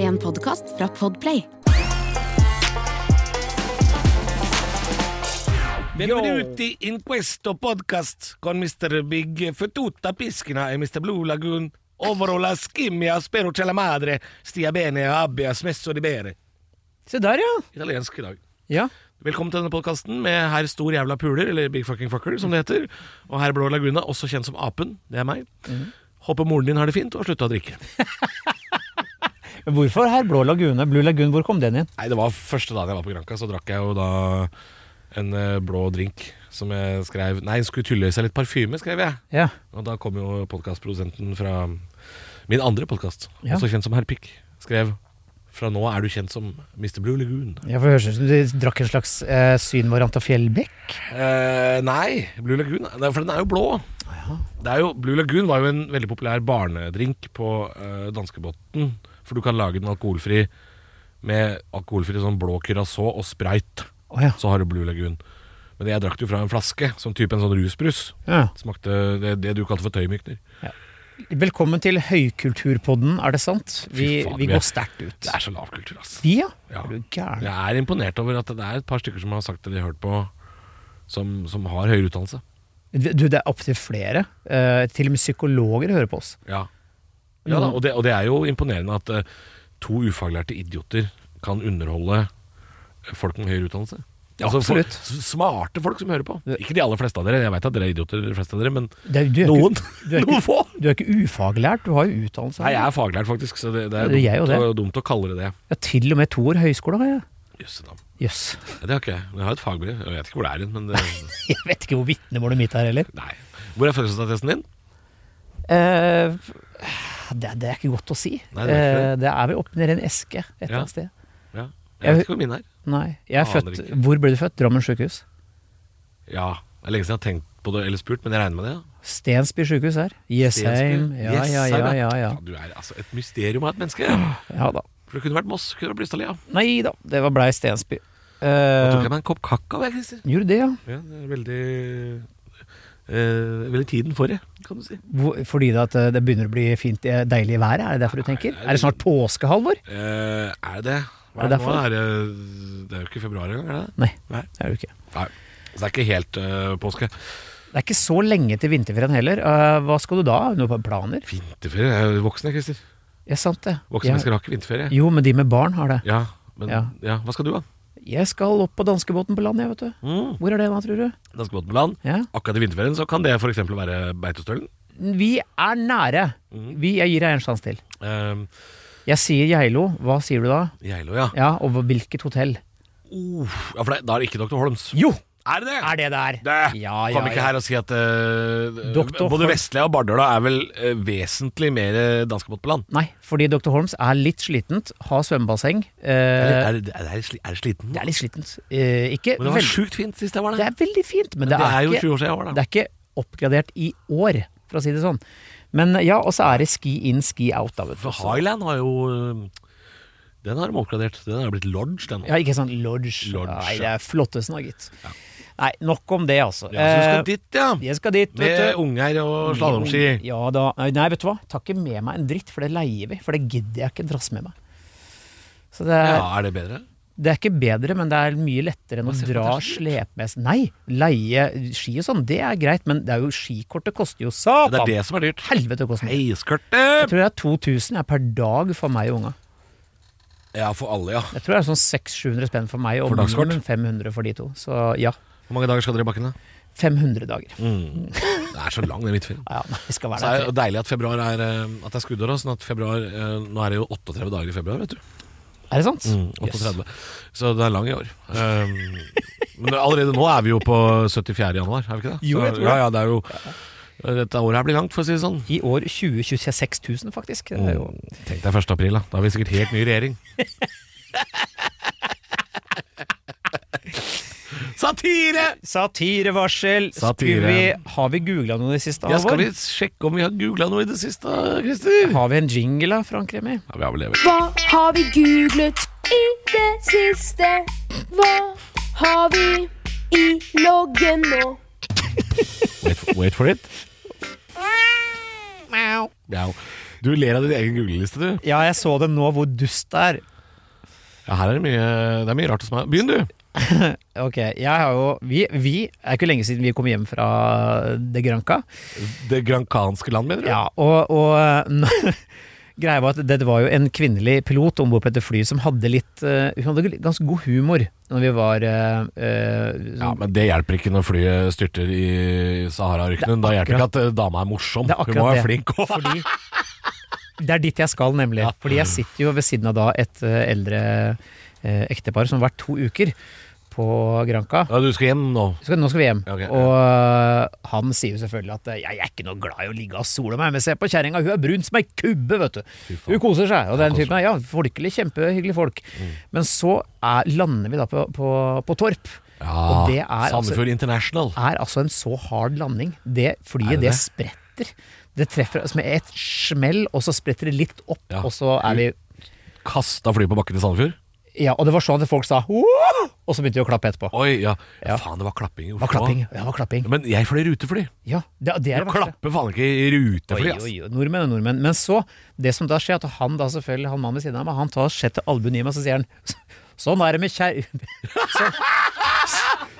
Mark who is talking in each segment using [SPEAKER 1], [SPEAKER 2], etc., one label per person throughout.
[SPEAKER 1] en podkast fra Podplay.
[SPEAKER 2] Benvenuti in questo podcast con Mr. Big Fettuta Pischina e Mr. Blue Lagoon. Overall la schimmia, spero che la madre stia bene e abbia smesso di bere.
[SPEAKER 3] Se der, ja.
[SPEAKER 2] Italiensk i dag.
[SPEAKER 3] Ja.
[SPEAKER 2] Velkommen til denne podkasten med herr Stor jævla puler, eller Big Fucking Fucker, som det heter. Og herr Blå Laguna, også kjent som Apen. Det er meg. Håper moren din har det fint og har slutta å drikke.
[SPEAKER 3] Men Hvorfor her Blå lagune? Blue lagun, hvor kom den inn?
[SPEAKER 2] Nei, det var første dagen jeg var på Granca, så drakk jeg jo da en eh, blå drink som jeg skrev Nei, jeg skulle tulle i seg litt parfyme, skrev jeg.
[SPEAKER 3] Ja.
[SPEAKER 2] Og da kom jo podkastprodusenten fra min andre podkast,
[SPEAKER 3] Ja.
[SPEAKER 2] også kjent som Herr Pikk, skrev Fra nå er du kjent som Mr. Blue Lagoon.
[SPEAKER 3] Jeg får høre som du drakk en slags eh, synvariant av Fjellbekk.
[SPEAKER 2] Eh, nei, Blue Lagoon det er- For den er jo blå. Det er jo, Blue Lagoon var jo en veldig populær barnedrink på eh, danskebåten. For du kan lage den alkoholfri med alkoholfri sånn blå curacao og sprite.
[SPEAKER 3] Å ja.
[SPEAKER 2] Så har du Blue Lagoon. Men jeg drakk det jo fra en flaske, som type en sånn rusbrus.
[SPEAKER 3] ja.
[SPEAKER 2] Smakte det, det du kalte for tøymykner.
[SPEAKER 3] Velkommen til Høykulturpodden, er det sant? Vi,
[SPEAKER 2] Fy faen,
[SPEAKER 3] vi
[SPEAKER 2] vi er-
[SPEAKER 3] går sterkt ut.
[SPEAKER 2] Det er så lav kultur, ass.
[SPEAKER 3] Vi, ja?
[SPEAKER 2] Ja.
[SPEAKER 3] Er du gæren?
[SPEAKER 2] Jeg er imponert over at det er et par stykker som har sagt det de har hørt på, som, som har høyere utdannelse.
[SPEAKER 3] Du, det er opptil flere. Eh, til og med psykologer hører på oss.
[SPEAKER 2] Ja, ja
[SPEAKER 3] Mm.
[SPEAKER 2] da, og det, og det er jo imponerende at eh, to ufaglærte idioter kan underholde eh, folk med høyere utdannelse.
[SPEAKER 3] Ja,
[SPEAKER 2] for-
[SPEAKER 3] absolutt.
[SPEAKER 2] s- smarte folk som hører på. Ikke de aller fleste av dere, jeg veit at dere er idioter, de fleste av dere, men
[SPEAKER 3] Det er- du er
[SPEAKER 2] noen.
[SPEAKER 3] Ikke, du, er
[SPEAKER 2] Noen
[SPEAKER 3] ikke,
[SPEAKER 2] få.
[SPEAKER 3] du er ikke ufaglært, du har jo utdannelse.
[SPEAKER 2] Nei, jeg er faglært, faktisk, så det, det er
[SPEAKER 3] Ja, det er jeg jo
[SPEAKER 2] dumt, å, dumt å kalle det det.
[SPEAKER 3] Ja, til og med to år høyskole har jeg.
[SPEAKER 2] Jøssenavn.
[SPEAKER 3] Jøss.
[SPEAKER 2] Ja, Det har ikke jeg. Men Jeg har et fagbrev. Jeg vet ikke hvor det er hen, men det,
[SPEAKER 3] Jeg vet ikke hvor vitnemålet mitt er heller.
[SPEAKER 2] Nei. Hvor er fødselsattesten din?
[SPEAKER 3] Eh, det, det er ikke godt å si.
[SPEAKER 2] Nei, det er ikke det.
[SPEAKER 3] Eh, det er vel oppi nedi en eske et eller
[SPEAKER 2] Ja.
[SPEAKER 3] annet sted.
[SPEAKER 2] Ja.
[SPEAKER 3] Jeg-
[SPEAKER 2] Jeg vet ikke hvor min er.
[SPEAKER 3] Nei. Jeg er
[SPEAKER 2] Aner
[SPEAKER 3] født
[SPEAKER 2] ikke.
[SPEAKER 3] Hvor ble du født? Drammen sjukehus?
[SPEAKER 2] Ja, det er lenge siden jeg har tenkt på det eller spurt, men jeg regner med det. ja.
[SPEAKER 3] Stensby sjukehus her. Jessheim.
[SPEAKER 2] Stensby.
[SPEAKER 3] Ja, ja,
[SPEAKER 2] Jessheim,
[SPEAKER 3] ja, ja, ja.
[SPEAKER 2] Faen, Du er altså et mysterium av et menneske.
[SPEAKER 3] Ja da.
[SPEAKER 2] For det kunne vært Moss, kunne vært Blystadlia.
[SPEAKER 3] Nei da, det var blei Stensby.
[SPEAKER 2] Da
[SPEAKER 3] Eh,
[SPEAKER 2] tok jeg meg en kopp kakao, jeg, Christer.
[SPEAKER 3] gjorde det, ja.
[SPEAKER 2] Ja, det er veldig eh, Veldig tiden for det, kan du si.
[SPEAKER 3] Hvor- Fordi det, at eh, det begynner å bli fint, eh, deilig i været? Er det derfor du tenker?
[SPEAKER 2] det er
[SPEAKER 3] Er det snart påske, Halvor?
[SPEAKER 2] Eh, er det det? Hva
[SPEAKER 3] Er
[SPEAKER 2] er
[SPEAKER 3] det
[SPEAKER 2] det,
[SPEAKER 3] derfor?
[SPEAKER 2] nå? Er det, det er jo ikke februar engang, er det det?
[SPEAKER 3] Nei,
[SPEAKER 2] Nei.
[SPEAKER 3] det er det ikke.
[SPEAKER 2] Nei. Så det er ikke helt eh, påske.
[SPEAKER 3] Det er ikke så lenge til vinterferien heller. Eh, hva skal du da? Har du Noen planer?
[SPEAKER 2] Vinterferie? Jeg er jo voksen, jeg, Christer.
[SPEAKER 3] Ja, sant det.
[SPEAKER 2] Voksne
[SPEAKER 3] Jeg-
[SPEAKER 2] mennesker har ikke vinterferie.
[SPEAKER 3] Jo, men de med barn har det.
[SPEAKER 2] Ja, men ja.
[SPEAKER 3] Ja.
[SPEAKER 2] Hva skal du, da?
[SPEAKER 3] Jeg skal opp på danskebåten på land, jeg, vet du.
[SPEAKER 2] Mm.
[SPEAKER 3] Hvor er det da, tror du?
[SPEAKER 2] Danskebåten på land.
[SPEAKER 3] Ja.
[SPEAKER 2] Akkurat i vinterferien så kan det f.eks. være Beitostølen.
[SPEAKER 3] Vi er nære.
[SPEAKER 2] Mhm.
[SPEAKER 3] Vi, jeg gir deg en sjanse til.
[SPEAKER 2] Uh,
[SPEAKER 3] Jeg sier Geilo. Hva sier du da?
[SPEAKER 2] Geilo, ja.
[SPEAKER 3] Ja, og hva- hvilket hotell?
[SPEAKER 2] Uff, ja. For det, da er det ikke Dr. Holms.
[SPEAKER 3] Jo!
[SPEAKER 2] Er det det?
[SPEAKER 3] Er det der?
[SPEAKER 2] det?
[SPEAKER 3] Ja, ja,
[SPEAKER 2] Kom ikke
[SPEAKER 3] ja.
[SPEAKER 2] her og si at eh,
[SPEAKER 3] Dr.
[SPEAKER 2] både
[SPEAKER 3] Holm-
[SPEAKER 2] Vestlia og Bardøla er vel eh, vesentlig mer eh, danskebåt på land.
[SPEAKER 3] Nei, fordi Dr. Holms er litt slitent. Har svømmebasseng.
[SPEAKER 2] Eller
[SPEAKER 3] Eh,
[SPEAKER 2] er, det- er, det sli- er det sliten?
[SPEAKER 3] det er litt slitent. Eh, ikke
[SPEAKER 2] Men det var
[SPEAKER 3] veldig
[SPEAKER 2] sjukt fint sist jeg var
[SPEAKER 3] Det
[SPEAKER 2] der.
[SPEAKER 3] er veldig fint, men det,
[SPEAKER 2] det er
[SPEAKER 3] er
[SPEAKER 2] jo 20
[SPEAKER 3] ikke,
[SPEAKER 2] år siden jeg var der.
[SPEAKER 3] det er ikke oppgradert i år, for å si det sånn. Men ja, og så er det ski in, ski out, da, vet du.
[SPEAKER 2] For Highland har jo eh, Den har de oppgradert. Den har blitt lodge, den.
[SPEAKER 3] Ja, ikke sant. Lodge.
[SPEAKER 2] Lodge,
[SPEAKER 3] Nei,
[SPEAKER 2] ja.
[SPEAKER 3] det er flottesen, da, gitt. Nei, nok om det, altså.
[SPEAKER 2] Ja, så du
[SPEAKER 3] Eh,
[SPEAKER 2] skal dit, ja.
[SPEAKER 3] Jeg skal dit,
[SPEAKER 2] Med
[SPEAKER 3] vet du. Mm,
[SPEAKER 2] unger og slalåmski.
[SPEAKER 3] Ja da. Nei, vet du hva. Ta ikke med meg en dritt, for det leier vi. For det gidder jeg ikke drasse med meg. Så det er,
[SPEAKER 2] Ja, er det bedre?
[SPEAKER 3] det er ikke bedre, men det er mye lettere enn å
[SPEAKER 2] ser for
[SPEAKER 3] dra
[SPEAKER 2] at det er så
[SPEAKER 3] slepemess. Nei, leie ski og sånn, det er greit, men det er jo skikortet koster jo
[SPEAKER 2] Det
[SPEAKER 3] satan!
[SPEAKER 2] er det som er dyrt.
[SPEAKER 3] Helvete koster det. Jeg
[SPEAKER 2] Heiskørtet!
[SPEAKER 3] tror det er 2000 er per dag for meg og unga.
[SPEAKER 2] Ja, for alle, ja.
[SPEAKER 3] Jeg tror det er sånn 600-700 spenn for meg og
[SPEAKER 2] For dagskort?
[SPEAKER 3] minimum 500 for de to. Så ja,
[SPEAKER 2] Hvor mange dager skal dere i bakken, da?
[SPEAKER 3] 500 dager.
[SPEAKER 2] Mm. Det er så lang, den midtferien.
[SPEAKER 3] Ja, ja, vi skal
[SPEAKER 2] Så
[SPEAKER 3] være
[SPEAKER 2] er
[SPEAKER 3] der.
[SPEAKER 2] det deilig at februar er eh, At det er skuddår også, Sånn at februar eh, Nå er det jo 38 dager i februar Vet du
[SPEAKER 3] Er det sant?
[SPEAKER 2] Mm, 38 Så det er lang i år um, Men allerede nå er vi jo på 74. januar Er vi ikke det?
[SPEAKER 3] Jo,
[SPEAKER 2] Så-
[SPEAKER 3] jeg tror det.
[SPEAKER 2] Ja, ja, det er jo Dette året her blir langt For å si det sånn
[SPEAKER 3] I år 2026 000, faktisk. Det er jo
[SPEAKER 2] Mm, Tenk deg 1. april da Da har vi sikkert helt ny regjering Satire!
[SPEAKER 3] Satirevarsel!
[SPEAKER 2] Satire.
[SPEAKER 3] Skulle Vi, har vi googla noe i det siste?
[SPEAKER 2] Ja, skal
[SPEAKER 3] Halvor?
[SPEAKER 2] vi sjekke om vi har googlet noe i det siste, Christer?
[SPEAKER 3] Har vi en jingle, da, Frank Remi?
[SPEAKER 2] Ja, vi har vel det vel.
[SPEAKER 4] Hva har vi googlet i det siste? Hva har vi i loggen nå?
[SPEAKER 2] Wait for, wait for it
[SPEAKER 3] Mjau.
[SPEAKER 2] Mjau. Du ler av din egen googleliste, du.
[SPEAKER 3] Ja, jeg så det nå, hvor dust det er.
[SPEAKER 2] Ja, her er det mye, det er mye rart hos meg. Begynn, du.
[SPEAKER 3] Ok, jeg har jo Vi, vi det er ikke lenge siden vi kom hjem fra De Granca.
[SPEAKER 2] Det grankanske land, mener du?
[SPEAKER 3] Ja, og, og greia var at det var jo en kvinnelig pilot om bord på dette flyet som hadde litt eh, Hun hadde ganske god humor når vi var eh, eh,
[SPEAKER 2] Ja, men Det hjelper ikke når flyet styrter i Sahara-ørkenen. Da hjelper ikke at eh, dama er morsom.
[SPEAKER 3] Det er
[SPEAKER 2] Hun må
[SPEAKER 3] akkurat
[SPEAKER 2] være
[SPEAKER 3] det.
[SPEAKER 2] flink òg.
[SPEAKER 3] Det er dit jeg skal, nemlig.
[SPEAKER 2] Ja.
[SPEAKER 3] Fordi jeg sitter jo ved siden av da et eh, eldre eh, ektepar som har vært to uker på Granca.
[SPEAKER 2] Ja, du skal hjem nå.
[SPEAKER 3] Så nå skal vi hjem.
[SPEAKER 2] Ja, ok, ja.
[SPEAKER 3] Og øh, han sier jo selvfølgelig at øh, jeg er ikke noe glad i å ligge og sole meg, men se på kjerringa, hun er brun som ei kubbe, vet du.
[SPEAKER 2] Fy
[SPEAKER 3] Hun
[SPEAKER 2] faen.
[SPEAKER 3] koser seg. Og den
[SPEAKER 2] koser Mm.
[SPEAKER 3] typen, ja, folkelig, kjempehyggelige folk. Men så er, lander vi da på, på, på Torp. Og det er
[SPEAKER 2] Ja,
[SPEAKER 3] altså-
[SPEAKER 2] Sandefjord International.
[SPEAKER 3] Er altså en så hard landing. Det
[SPEAKER 2] Er
[SPEAKER 3] flyet,
[SPEAKER 2] det
[SPEAKER 3] det,
[SPEAKER 2] det?
[SPEAKER 3] spretter. Det treffer oss med et smell, og så spretter det litt opp,
[SPEAKER 2] Ja.
[SPEAKER 3] og så er vi
[SPEAKER 2] Kasta flyet på bakken i Sandefjord?
[SPEAKER 3] Ja, og det var sånn at folk sa «Wow!» og så begynte de å klappe etterpå.
[SPEAKER 2] Oi, ja.
[SPEAKER 3] Ja.
[SPEAKER 2] ja. Faen, det var klapping i
[SPEAKER 3] Det var
[SPEAKER 2] Oslo.
[SPEAKER 3] klapping. Ja, det var klapping.
[SPEAKER 2] Men jeg fløy rutefly.
[SPEAKER 3] Ja, det, det er
[SPEAKER 2] Du
[SPEAKER 3] det verste.
[SPEAKER 2] klapper faen ikke i rutefly,
[SPEAKER 3] Oi,
[SPEAKER 2] ass.
[SPEAKER 3] oi, oi, nordmenn og nordmenn. Men så, det som da skjer, at han da selvfølgelig, han mannen ved siden av meg, han tar sjette albuen i meg, så sier han "Så- Sånn er det med kjær... Sånn,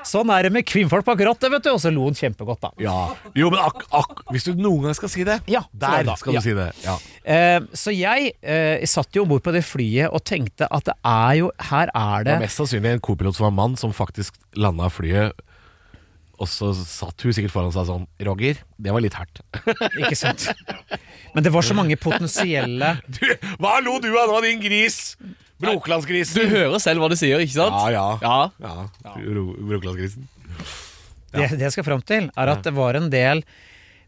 [SPEAKER 3] sånn er det med kvinnfolk bak rattet, vet du! Og så lo han kjempegodt, da.
[SPEAKER 2] Ja. Jo, men ak, ak, hvis du noen gang skal si det,
[SPEAKER 3] Ja, så er det
[SPEAKER 2] der
[SPEAKER 3] da.
[SPEAKER 2] skal du
[SPEAKER 3] Ja.
[SPEAKER 2] si det. Ja.
[SPEAKER 3] Eh, så jeg eh, satt jo om bord på det flyet og tenkte at det er jo Her er
[SPEAKER 2] Det
[SPEAKER 3] det
[SPEAKER 2] var mest sannsynlig en kopilot som var mann, som faktisk landa flyet. Og så satt hun sikkert foran seg sånn Roger, det var litt hardt.
[SPEAKER 3] Ikke sant? Men det var så mange potensielle
[SPEAKER 2] Du, hva lo du av nå, din gris? Brokelandsgrisen.
[SPEAKER 1] Du hører selv hva du sier, ikke sant?
[SPEAKER 2] Ja, ja.
[SPEAKER 1] Ja.
[SPEAKER 2] Ja, Bro- Brokelandsgrisen.
[SPEAKER 3] Det, det jeg skal fram til, er at det var en del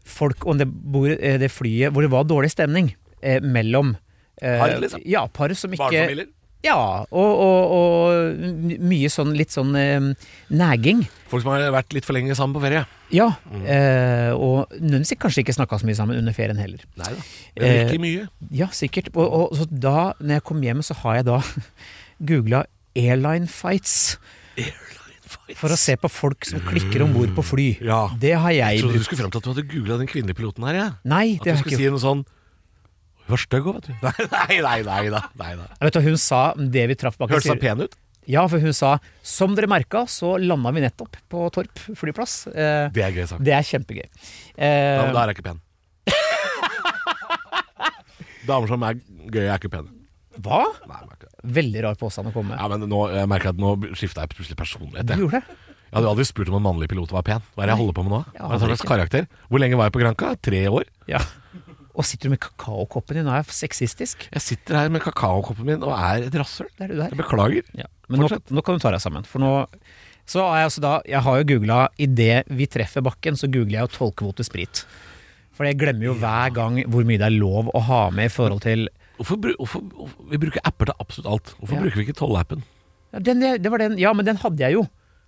[SPEAKER 3] folk om det, bor, eh, det flyet hvor det var dårlig stemning eh, mellom eh,
[SPEAKER 2] Par, liksom?
[SPEAKER 3] Ja, par som ikke
[SPEAKER 2] Barnefamilier.
[SPEAKER 3] Ja, og, og, og my- mye sånn litt sånn eh, nagging.
[SPEAKER 2] Folk som har vært litt for lenge sammen på ferie.
[SPEAKER 3] Ja,
[SPEAKER 2] Mm.
[SPEAKER 3] eh, og nødvendigvis kanskje ikke snakka så mye sammen under ferien heller.
[SPEAKER 2] Nei da. Men
[SPEAKER 3] Eh,
[SPEAKER 2] ikke mye.
[SPEAKER 3] Ja, sikkert. Og, og så da, når jeg kom hjem, så har jeg da googla airline fights for å se på folk som klikker om bord på fly.
[SPEAKER 2] Ja.
[SPEAKER 3] Det har
[SPEAKER 2] Jeg
[SPEAKER 3] jeg
[SPEAKER 2] trodde du
[SPEAKER 3] brukt.
[SPEAKER 2] skulle fram til at du hadde googla den kvinnelige piloten her, jeg.
[SPEAKER 3] Nei,
[SPEAKER 2] At du
[SPEAKER 3] det har jeg
[SPEAKER 2] skulle
[SPEAKER 3] ikke
[SPEAKER 2] si noe sånn Hun var stygg òg, vet du. Nei, nei, nei. nei, da. nei da.
[SPEAKER 3] Jeg vet du, Hun sa det vi traff bak i
[SPEAKER 2] Hørtes
[SPEAKER 3] styret-
[SPEAKER 2] han pen ut?
[SPEAKER 3] Ja, for hun sa Som dere merka, så landa vi nettopp på Torp flyplass. Eh,
[SPEAKER 2] Det er gøy sagt.
[SPEAKER 3] det er kjempegøy.
[SPEAKER 2] Ja,
[SPEAKER 3] Eh,
[SPEAKER 2] men da er jeg ikke pen. Damer som er gøy, er ikke pene.
[SPEAKER 3] hva?
[SPEAKER 2] Nei, de er ikke det.
[SPEAKER 3] Veldig rar påstand å komme med.
[SPEAKER 2] ja, men nå, jeg merker at nå skifta jeg plutselig personlighet.
[SPEAKER 3] Du
[SPEAKER 2] Jeg.
[SPEAKER 3] gjorde det?
[SPEAKER 2] jeg hadde jo aldri spurt om en mannlig pilot var pen. Hva er det jeg holder på med nå?
[SPEAKER 3] jeg
[SPEAKER 2] Hva er
[SPEAKER 3] aner
[SPEAKER 2] det slags
[SPEAKER 3] ikke.
[SPEAKER 2] karakter? Hvor lenge var jeg på Granca? Tre år?
[SPEAKER 3] Ja. Og sitter du med kakaokoppen din og er sexistisk?
[SPEAKER 2] Jeg sitter her med kakaokoppen min og er et rasshøl.
[SPEAKER 3] Det er du der.
[SPEAKER 2] Jeg beklager.
[SPEAKER 3] Ja. Men nå,
[SPEAKER 2] Fortsett.
[SPEAKER 3] nå kan du ta deg sammen. For nå så har jeg altså da Jeg har jo googla Idet vi treffer bakken, så googler jeg jo tollkvote sprit. For jeg glemmer jo hver gang hvor mye det er lov å ha med i forhold til
[SPEAKER 2] Hvorfor, bru- hvorfor, hvorfor, vi bruker apper til absolutt alt. Hvorfor
[SPEAKER 3] Ja.
[SPEAKER 2] bruker vi ikke tollappen?
[SPEAKER 3] ja, den, det var den, ja, men den hadde jeg jo.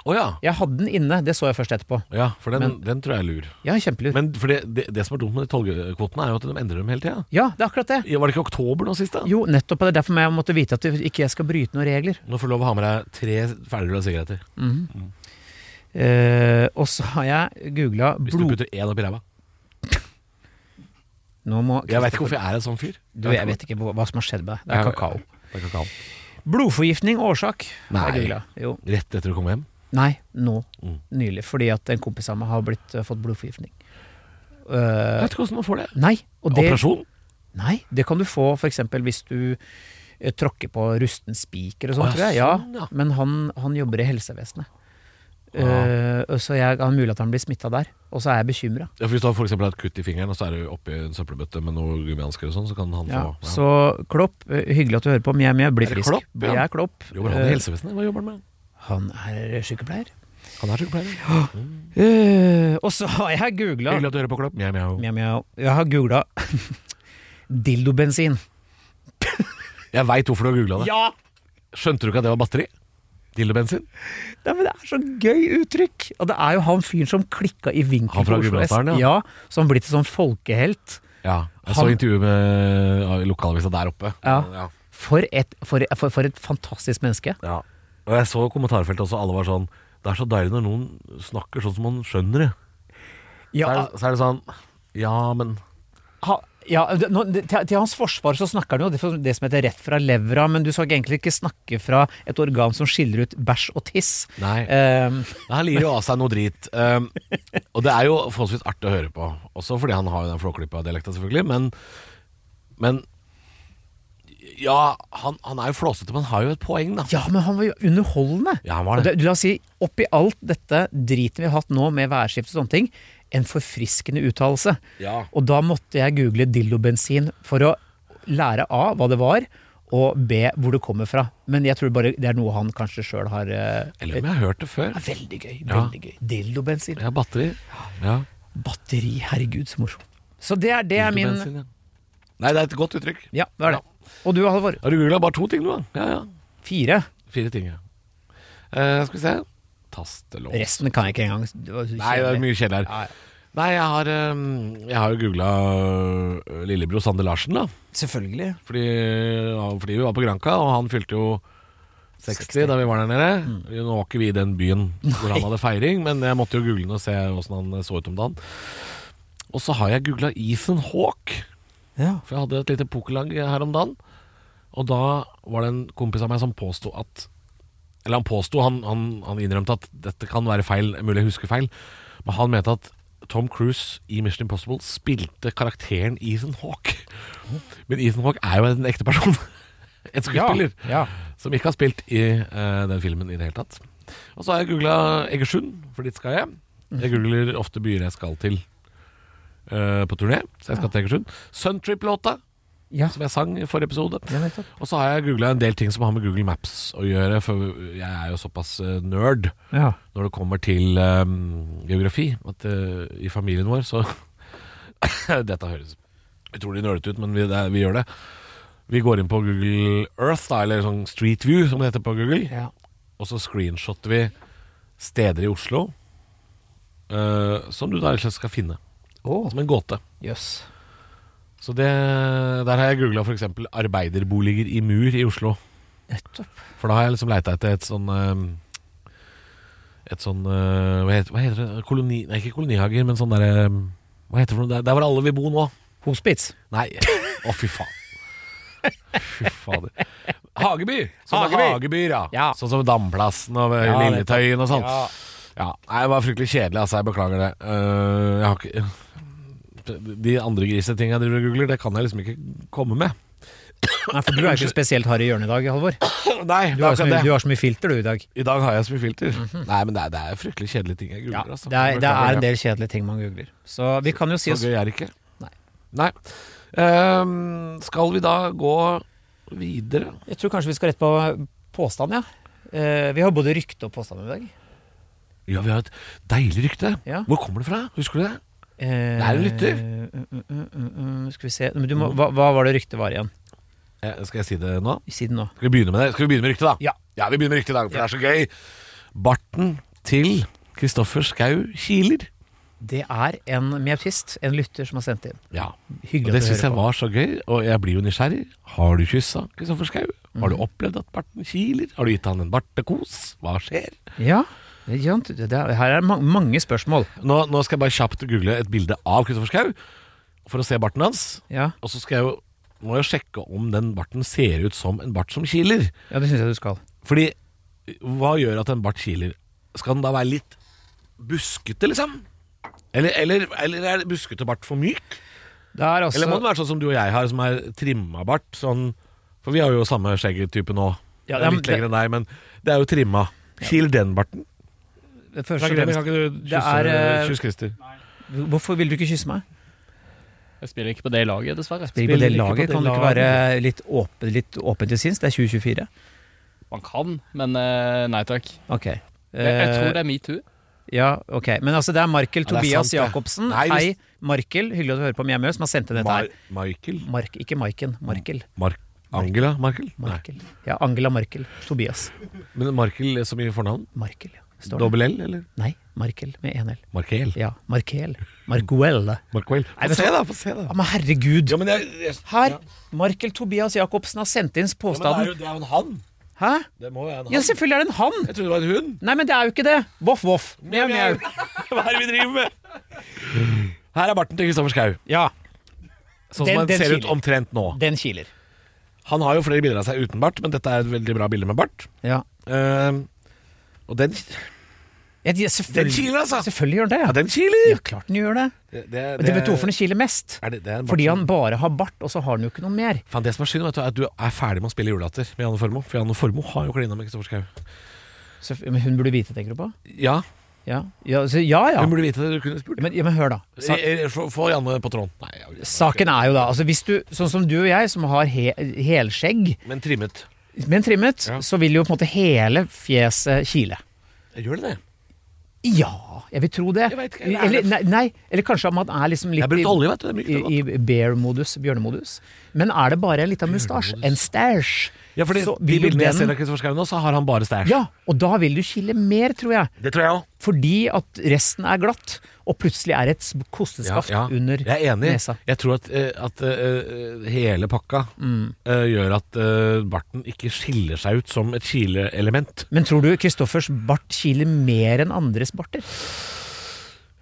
[SPEAKER 2] Å ja.
[SPEAKER 3] Jeg hadde den inne. Det så jeg først etterpå.
[SPEAKER 2] ja. For den,
[SPEAKER 3] Men-
[SPEAKER 2] den tror jeg er lur.
[SPEAKER 3] Ja, kjempelur.
[SPEAKER 2] Men for det, det, det som er dumt med de tollkvotene, er jo at de endrer dem hele tida.
[SPEAKER 3] Ja, det er akkurat det.
[SPEAKER 2] Var det ikke oktober nå sist, da?
[SPEAKER 3] Jo, nettopp. og Det er derfor jeg måtte vite at du ikke jeg skal bryte noen regler.
[SPEAKER 2] Nå får du lov å ha med deg tre ferdigrulla sigaretter.
[SPEAKER 3] Eh, og så har jeg googla
[SPEAKER 2] Hvis du
[SPEAKER 3] blod...
[SPEAKER 2] putter én oppi ræva.
[SPEAKER 3] Nå må
[SPEAKER 2] Jeg veit ikke hvorfor jeg er en sånn fyr.
[SPEAKER 3] Du, jeg vet ikke hva hva som har skjedd med deg. Det er
[SPEAKER 2] Ja,
[SPEAKER 3] kakao.
[SPEAKER 2] Det er kakao.
[SPEAKER 3] Blodforgiftning årsak. har jeg
[SPEAKER 2] Nei.
[SPEAKER 3] googlet. Jo.
[SPEAKER 2] Rett etter å komme hjem.
[SPEAKER 3] Nei, nå.
[SPEAKER 2] Mm.
[SPEAKER 3] Nylig. Fordi at en kompis av meg har blitt, eh, fått blodforgiftning.
[SPEAKER 2] Jeg
[SPEAKER 3] Eh,
[SPEAKER 2] vet ikke hvordan man får det.
[SPEAKER 3] nei, og det,
[SPEAKER 2] Operasjon?
[SPEAKER 3] nei, det kan du få f.eks. hvis du eh, tråkker på rusten spiker og sånt,
[SPEAKER 2] Å,
[SPEAKER 3] tror jeg.
[SPEAKER 2] ja,
[SPEAKER 3] Ja,
[SPEAKER 2] sånn, ja. Ah.
[SPEAKER 3] Men han, han jobber i helsevesenet.
[SPEAKER 2] Ja.
[SPEAKER 3] Eh, og så jeg har mulig at han blir smitta der. Og så er jeg bekymra.
[SPEAKER 2] Ja, for hvis du har for eksempel et kutt i fingeren, og så er du oppi en søppelbøtte med noen gummihansker og sånn, så kan han
[SPEAKER 3] Ja,
[SPEAKER 2] få
[SPEAKER 3] så Klopp, eh, hyggelig at du hører på, men jeg, men jeg blir
[SPEAKER 2] Er det
[SPEAKER 3] frisk.
[SPEAKER 2] Klopp, ja?
[SPEAKER 3] Jeg er Klopp.
[SPEAKER 2] Jobber han
[SPEAKER 3] Eh,
[SPEAKER 2] i helsevesenet? Hva jobber han med?
[SPEAKER 3] han er sykepleier.
[SPEAKER 2] Han er sykepleier.
[SPEAKER 3] Eh, og så har jeg googla
[SPEAKER 2] Hyggelig at du hører på, Klopp. Mjau, mjau.
[SPEAKER 3] Mjau, mjau. Jeg har googla dildobensin.
[SPEAKER 2] Jeg veit hvorfor du har googla det.
[SPEAKER 3] Ja!
[SPEAKER 2] Skjønte du ikke at det var batteri? Dildobensin?
[SPEAKER 3] Nei, men det er så gøy uttrykk! Og det er jo han fyren som klikka i vinkel.
[SPEAKER 2] Han fra
[SPEAKER 3] på Oslo S.
[SPEAKER 2] Gudbrandsdalen,
[SPEAKER 3] ja. Som blitt en sånn folkehelt.
[SPEAKER 2] Ja. Jeg
[SPEAKER 3] Han-
[SPEAKER 2] så intervjuet med ja, i lokalavisa der oppe.
[SPEAKER 3] Ja.
[SPEAKER 2] ja.
[SPEAKER 3] For et, for, for, for et fantastisk menneske.
[SPEAKER 2] Ja. Og jeg så kommentarfeltet også, alle var sånn Det er så deilig når noen snakker sånn som man skjønner det. Så,
[SPEAKER 3] Ja,
[SPEAKER 2] er, det- så er det sånn Ja, men
[SPEAKER 3] ha, Ja, det, nå, det, til, til hans forsvar så snakker han jo det, for- det som heter rett fra levra, men du skal ikke egentlig ikke snakke fra et organ som skiller ut bæsj og tiss.
[SPEAKER 2] Nei.
[SPEAKER 3] Ehm,
[SPEAKER 2] Han lirer jo av seg noe drit. Um, og det er jo forholdsvis artig å høre på. Også fordi han har jo den flåklippa-dialekta, selvfølgelig. Men, men Ja, han, han er jo flåsete, men han har jo et poeng, da.
[SPEAKER 3] ja, men han var jo underholdende.
[SPEAKER 2] Ja, han var
[SPEAKER 3] Og
[SPEAKER 2] det.
[SPEAKER 3] det- La oss si, oppi alt dette driten vi har hatt nå med værskift og sånne ting, en forfriskende uttalelse.
[SPEAKER 2] Ja.
[SPEAKER 3] Og da måtte jeg google dildobensin for å lære A hva det var, og B hvor det kommer fra. Men jeg tror bare det er noe han kanskje sjøl har eh,
[SPEAKER 2] Eller om jeg har hørt det før.
[SPEAKER 3] er Veldig gøy.
[SPEAKER 2] Ja.
[SPEAKER 3] veldig gøy Dildobensin.
[SPEAKER 2] Jeg har batteri. Ja.
[SPEAKER 3] Batteri, herregud så morsomt. Så det er, det er min
[SPEAKER 2] Bensin, ja. Nei, det er et godt uttrykk.
[SPEAKER 3] Ja, det er det. Og du, Halvor?
[SPEAKER 2] Har du googla bare to ting, du, da? Ja, ja.
[SPEAKER 3] Fire.
[SPEAKER 2] Fire ting, ja. Eh, skal vi se. Tastelås.
[SPEAKER 3] Resten kan jeg ikke engang. Det var
[SPEAKER 2] Nei,
[SPEAKER 3] så
[SPEAKER 2] det er
[SPEAKER 3] kjedelig.
[SPEAKER 2] mye kjedelig her.
[SPEAKER 3] Ja,
[SPEAKER 2] Nei, jeg har, um, jeg har jo googla lillebror Sander Larsen, da.
[SPEAKER 3] Selvfølgelig.
[SPEAKER 2] Fordi, ja, fordi vi var på Granca, og han fylte jo 60,
[SPEAKER 3] 60.
[SPEAKER 2] da vi var der nede. Nå var ikke vi i den byen hvor han hadde feiring, men jeg måtte jo google den og se åssen han så ut om dagen. Og så har jeg googla Ethan Hawke,
[SPEAKER 3] Ja.
[SPEAKER 2] for jeg hadde et lite pokerlag her om dagen. Og da var det en kompis av meg som påsto at Eller han påsto, han, han, han innrømte at dette kan være feil, mulig jeg husker feil, men han mente at Tom Cruise i Mission Impossible spilte karakteren Ethan Hawke. Men Ethan Hawke er jo en ekte person. En skuespiller
[SPEAKER 3] Ja.
[SPEAKER 2] som ikke har spilt i eh, den filmen i det hele tatt. Og så har jeg googla Egersund, for dit skal jeg. Jeg googler ofte byer jeg skal til eh, på turné, så jeg skal til Egersund. Suntrip-låta,
[SPEAKER 3] Ja.
[SPEAKER 2] som jeg sang i forrige episode.
[SPEAKER 3] Ja, nettopp.
[SPEAKER 2] Og så har jeg googla en del ting som har med Google Maps å gjøre, for jeg er jo såpass eh, nerd
[SPEAKER 3] Ja.
[SPEAKER 2] når det kommer til eh, geografi, at eh, i familien vår så Dette høres utrolig nølete ut, men vi, det, er- vi gjør det. Vi går inn på Google Earth, da, eller sånn Street View, som det heter på Google.
[SPEAKER 3] Ja.
[SPEAKER 2] Og så screenshotter vi steder i Oslo eh, som du da rett og slett skal finne.
[SPEAKER 3] Å,
[SPEAKER 2] Som en gåte.
[SPEAKER 3] jøss.
[SPEAKER 2] Så det, Der har jeg googla f.eks. arbeiderboliger i mur i Oslo.
[SPEAKER 3] Nettopp.
[SPEAKER 2] For da har jeg liksom leita etter et sånn eh, Et sånn eh, hva, heter, hva heter det? Koloni... Nei, ikke kolonihager, men sånn derre Hva heter det for noe? Der, der hvor alle vil bo nå.
[SPEAKER 3] Hospits.
[SPEAKER 2] Nei. Å, fy faen. Fy fader. Hageby! Sånne
[SPEAKER 3] Hageby.
[SPEAKER 2] hagebyer, ja.
[SPEAKER 3] Ja.
[SPEAKER 2] Sånn som Damplassen og eh,
[SPEAKER 3] Ja, det-
[SPEAKER 2] Lilletøyen og sånn.
[SPEAKER 3] Ja.
[SPEAKER 2] Ja, nei, det var fryktelig kjedelig, altså. Jeg beklager det. Eh, jeg har ikke De andre grisetinga jeg driver og googler, det kan jeg liksom ikke komme med.
[SPEAKER 3] Nei, for du er jo ikke spesielt hard i hjørnet i dag, Halvor.
[SPEAKER 2] Nei,
[SPEAKER 3] Du har, så mye, du har så mye filter du i dag.
[SPEAKER 2] I dag har jeg så mye filter. Nei, men det er, det er fryktelig kjedelige ting jeg
[SPEAKER 3] Mhm. Ja,
[SPEAKER 2] googler. altså.
[SPEAKER 3] det, er, det
[SPEAKER 2] Beklager
[SPEAKER 3] er en del kjedelige ting man googler. Så vi kan jo si
[SPEAKER 2] Så
[SPEAKER 3] oss
[SPEAKER 2] gøy er det ikke.
[SPEAKER 3] Nei.
[SPEAKER 2] Nei. Ehm, skal vi da gå videre?
[SPEAKER 3] Jeg tror kanskje vi skal rett på påstand, ja. Eh, vi har både rykte og påstand i dag.
[SPEAKER 2] Ja, vi har et deilig rykte.
[SPEAKER 3] Ja.
[SPEAKER 2] Hvor kommer det fra? Husker du det?
[SPEAKER 3] Eh,
[SPEAKER 2] Det er en lytter.
[SPEAKER 3] mm, mm, mm, mm, skal vi se Men du må, hva, hva var det ryktet var igjen?
[SPEAKER 2] Eh, skal jeg si det nå?
[SPEAKER 3] Si det nå.
[SPEAKER 2] Skal vi begynne med det? Skal vi begynne med ryktet, da?
[SPEAKER 3] Ja.
[SPEAKER 2] vi begynner med ryktet i dag, for det er så gøy. Barten til Kristoffer Schau Kiler.
[SPEAKER 3] Det er en miautist, en lytter, som har sendt inn.
[SPEAKER 2] Ja. Og
[SPEAKER 3] Hyggelig
[SPEAKER 2] det
[SPEAKER 3] at du
[SPEAKER 2] syns jeg
[SPEAKER 3] hører på.
[SPEAKER 2] var så gøy, og jeg blir jo nysgjerrig. Har du kyssa Kristoffer Schau? Har du opplevd at barten kiler? Har du gitt han en bartekos? Hva skjer?
[SPEAKER 3] Ja, det er sant. det er, her er ma mange spørsmål.
[SPEAKER 2] Nå, nå skal jeg bare kjapt google et bilde av Kristoffer Schau for å se barten hans.
[SPEAKER 3] Ja,
[SPEAKER 2] Og så skal jeg jo, må jeg sjekke om den barten ser ut som en bart som kiler.
[SPEAKER 3] ja det syns jeg du skal.
[SPEAKER 2] Fordi hva gjør at en bart kiler? Skal den da være litt buskete, liksom? Eller, eller, eller er buskete bart for myk?
[SPEAKER 3] Det er altså
[SPEAKER 2] Eller må den være sånn som du og jeg har, som er trimma bart? Sånn, for vi har jo samme skjeggetype nå.
[SPEAKER 3] Ja,
[SPEAKER 2] det er
[SPEAKER 3] men
[SPEAKER 2] litt
[SPEAKER 3] det-
[SPEAKER 2] lenger enn deg, men det er jo trimma. Kiler den barten?
[SPEAKER 3] Først og
[SPEAKER 2] Kan
[SPEAKER 3] fremst,
[SPEAKER 2] ikke du
[SPEAKER 3] det
[SPEAKER 2] kysse,
[SPEAKER 3] er, eh,
[SPEAKER 2] kysse Christer?
[SPEAKER 3] hvorfor vil du ikke kysse meg?
[SPEAKER 1] Jeg spiller ikke på det laget, dessverre.
[SPEAKER 3] Spiller på det
[SPEAKER 2] ikke på
[SPEAKER 3] laget.
[SPEAKER 2] det
[SPEAKER 3] Kan du ikke
[SPEAKER 2] laget.
[SPEAKER 3] være litt åpen, litt åpen til sinns? Det er 2024.
[SPEAKER 1] Man kan, men eh, nei takk.
[SPEAKER 3] Ok.
[SPEAKER 2] Eh,
[SPEAKER 3] Eh,
[SPEAKER 1] Jeg, jeg tror det er metoo.
[SPEAKER 3] Ja, ok. Men altså, det er Markel
[SPEAKER 2] det er
[SPEAKER 3] Tobias
[SPEAKER 2] sant, det.
[SPEAKER 3] Jacobsen.
[SPEAKER 2] Nei, hvis-
[SPEAKER 3] Hei, Markel. Hyggelig at du hører på Mjau Mjau, som har sendt inn dette
[SPEAKER 2] Mar
[SPEAKER 3] her.
[SPEAKER 2] Michael?
[SPEAKER 3] Mark, ikke Maiken. Markel.
[SPEAKER 2] Mark Angela Markel? Nei.
[SPEAKER 3] Markel. Ja, Angela Markel. Tobias.
[SPEAKER 2] Men Markel som i fornavn?
[SPEAKER 3] Markel, ja. Står det.
[SPEAKER 2] Dobbel L, eller?
[SPEAKER 3] Nei, Markel med én L.
[SPEAKER 2] Markel?
[SPEAKER 3] Ja, Markel. Marguel.
[SPEAKER 2] Markel.
[SPEAKER 3] Nei,
[SPEAKER 2] Få
[SPEAKER 3] vet du
[SPEAKER 2] se, da! Få se,
[SPEAKER 3] Ja,
[SPEAKER 2] da.
[SPEAKER 3] men herregud!
[SPEAKER 2] Ja, men jeg, jeg,
[SPEAKER 3] Her! Markel Tobias Jacobsen har sendt inn
[SPEAKER 2] men det, er
[SPEAKER 3] påstanden.
[SPEAKER 2] jo, det er jo en han.
[SPEAKER 3] Hæ?
[SPEAKER 2] Det må jo være en han.
[SPEAKER 3] Ja, selvfølgelig er det en han!
[SPEAKER 2] Jeg trodde det var en hund.
[SPEAKER 3] Nei, men det er jo ikke det. Voff, voff. Mjau, mjau.
[SPEAKER 2] Hva er det vi driver med? Her er barten til Kristoffer Schau.
[SPEAKER 3] Ja.
[SPEAKER 2] Sånn
[SPEAKER 3] Den-
[SPEAKER 2] som han
[SPEAKER 3] den
[SPEAKER 2] ser ut
[SPEAKER 3] kiler.
[SPEAKER 2] omtrent nå.
[SPEAKER 3] Den kiler.
[SPEAKER 2] Han har jo flere bilder av seg uten bart, men dette er et veldig bra bilde med bart.
[SPEAKER 3] Ja.
[SPEAKER 2] Eh, og den,
[SPEAKER 3] Ja, de-
[SPEAKER 2] den
[SPEAKER 3] selvfølgelig,
[SPEAKER 2] kiler, altså!
[SPEAKER 3] selvfølgelig gjør den
[SPEAKER 2] Ja,
[SPEAKER 3] det.
[SPEAKER 2] den kiler!
[SPEAKER 3] Ja, klart den gjør det.
[SPEAKER 2] Det, det,
[SPEAKER 3] Men det vet du hvorfor den kiler mest?
[SPEAKER 2] er det, det er en bart
[SPEAKER 3] Fordi
[SPEAKER 2] som-
[SPEAKER 3] han bare har bart, og så har han jo ikke noe mer.
[SPEAKER 2] Faen, det som er synd, vet du, er at du er ferdig med å spille julelatter med Janne Formoe. For Janne Formoe har jo klina med Kristoffer Schau.
[SPEAKER 3] Så, men hun burde vite, tenker du på?
[SPEAKER 2] Ja,
[SPEAKER 3] Ja ja. Så, ja, ja.
[SPEAKER 2] hun burde vite det. Du kunne spurt.
[SPEAKER 3] Men, ja, men hør, da. Sa-
[SPEAKER 2] Eh, eh, Få få Janne på tråden. Nei, jeg-
[SPEAKER 3] Saken er jo da, altså hvis du, sånn som du og jeg som har he helskjegg,
[SPEAKER 2] Men trimmet.
[SPEAKER 3] men trimmet,
[SPEAKER 2] Ja.
[SPEAKER 3] så vil jo på en måte hele fjeset kile.
[SPEAKER 2] Gjør det det?
[SPEAKER 3] Ja, jeg vil tro det.
[SPEAKER 2] Jeg vet ikke, eller er
[SPEAKER 3] eller,
[SPEAKER 2] det-
[SPEAKER 3] nei, nei, eller kanskje man er liksom
[SPEAKER 2] Jeg
[SPEAKER 3] litt
[SPEAKER 2] har brukt
[SPEAKER 3] i,
[SPEAKER 2] olje, vet du. Det er mye
[SPEAKER 3] i,
[SPEAKER 2] godt.
[SPEAKER 3] i bear-modus, bjørnemodus. Men er det bare en liten mustasje, en stæsj,
[SPEAKER 2] Ja, fordi
[SPEAKER 3] så
[SPEAKER 2] De
[SPEAKER 3] vil jo
[SPEAKER 2] bildene jeg ser
[SPEAKER 3] den
[SPEAKER 2] av Kristoffer Schau nå, så har han bare stæsj.
[SPEAKER 3] Ja, og da vil du kile mer, tror jeg.
[SPEAKER 2] Det tror jeg òg.
[SPEAKER 3] Fordi at resten er glatt, og plutselig er et sp- kosteskaft under
[SPEAKER 2] jeg er enig.
[SPEAKER 3] nesa.
[SPEAKER 2] Jeg tror at, eh, at eh, eh, hele pakka
[SPEAKER 3] Mm.
[SPEAKER 2] eh, gjør at eh, barten ikke skiller seg ut som et kileelement.
[SPEAKER 3] Men tror du Kristoffers bart kiler mer enn andres barter?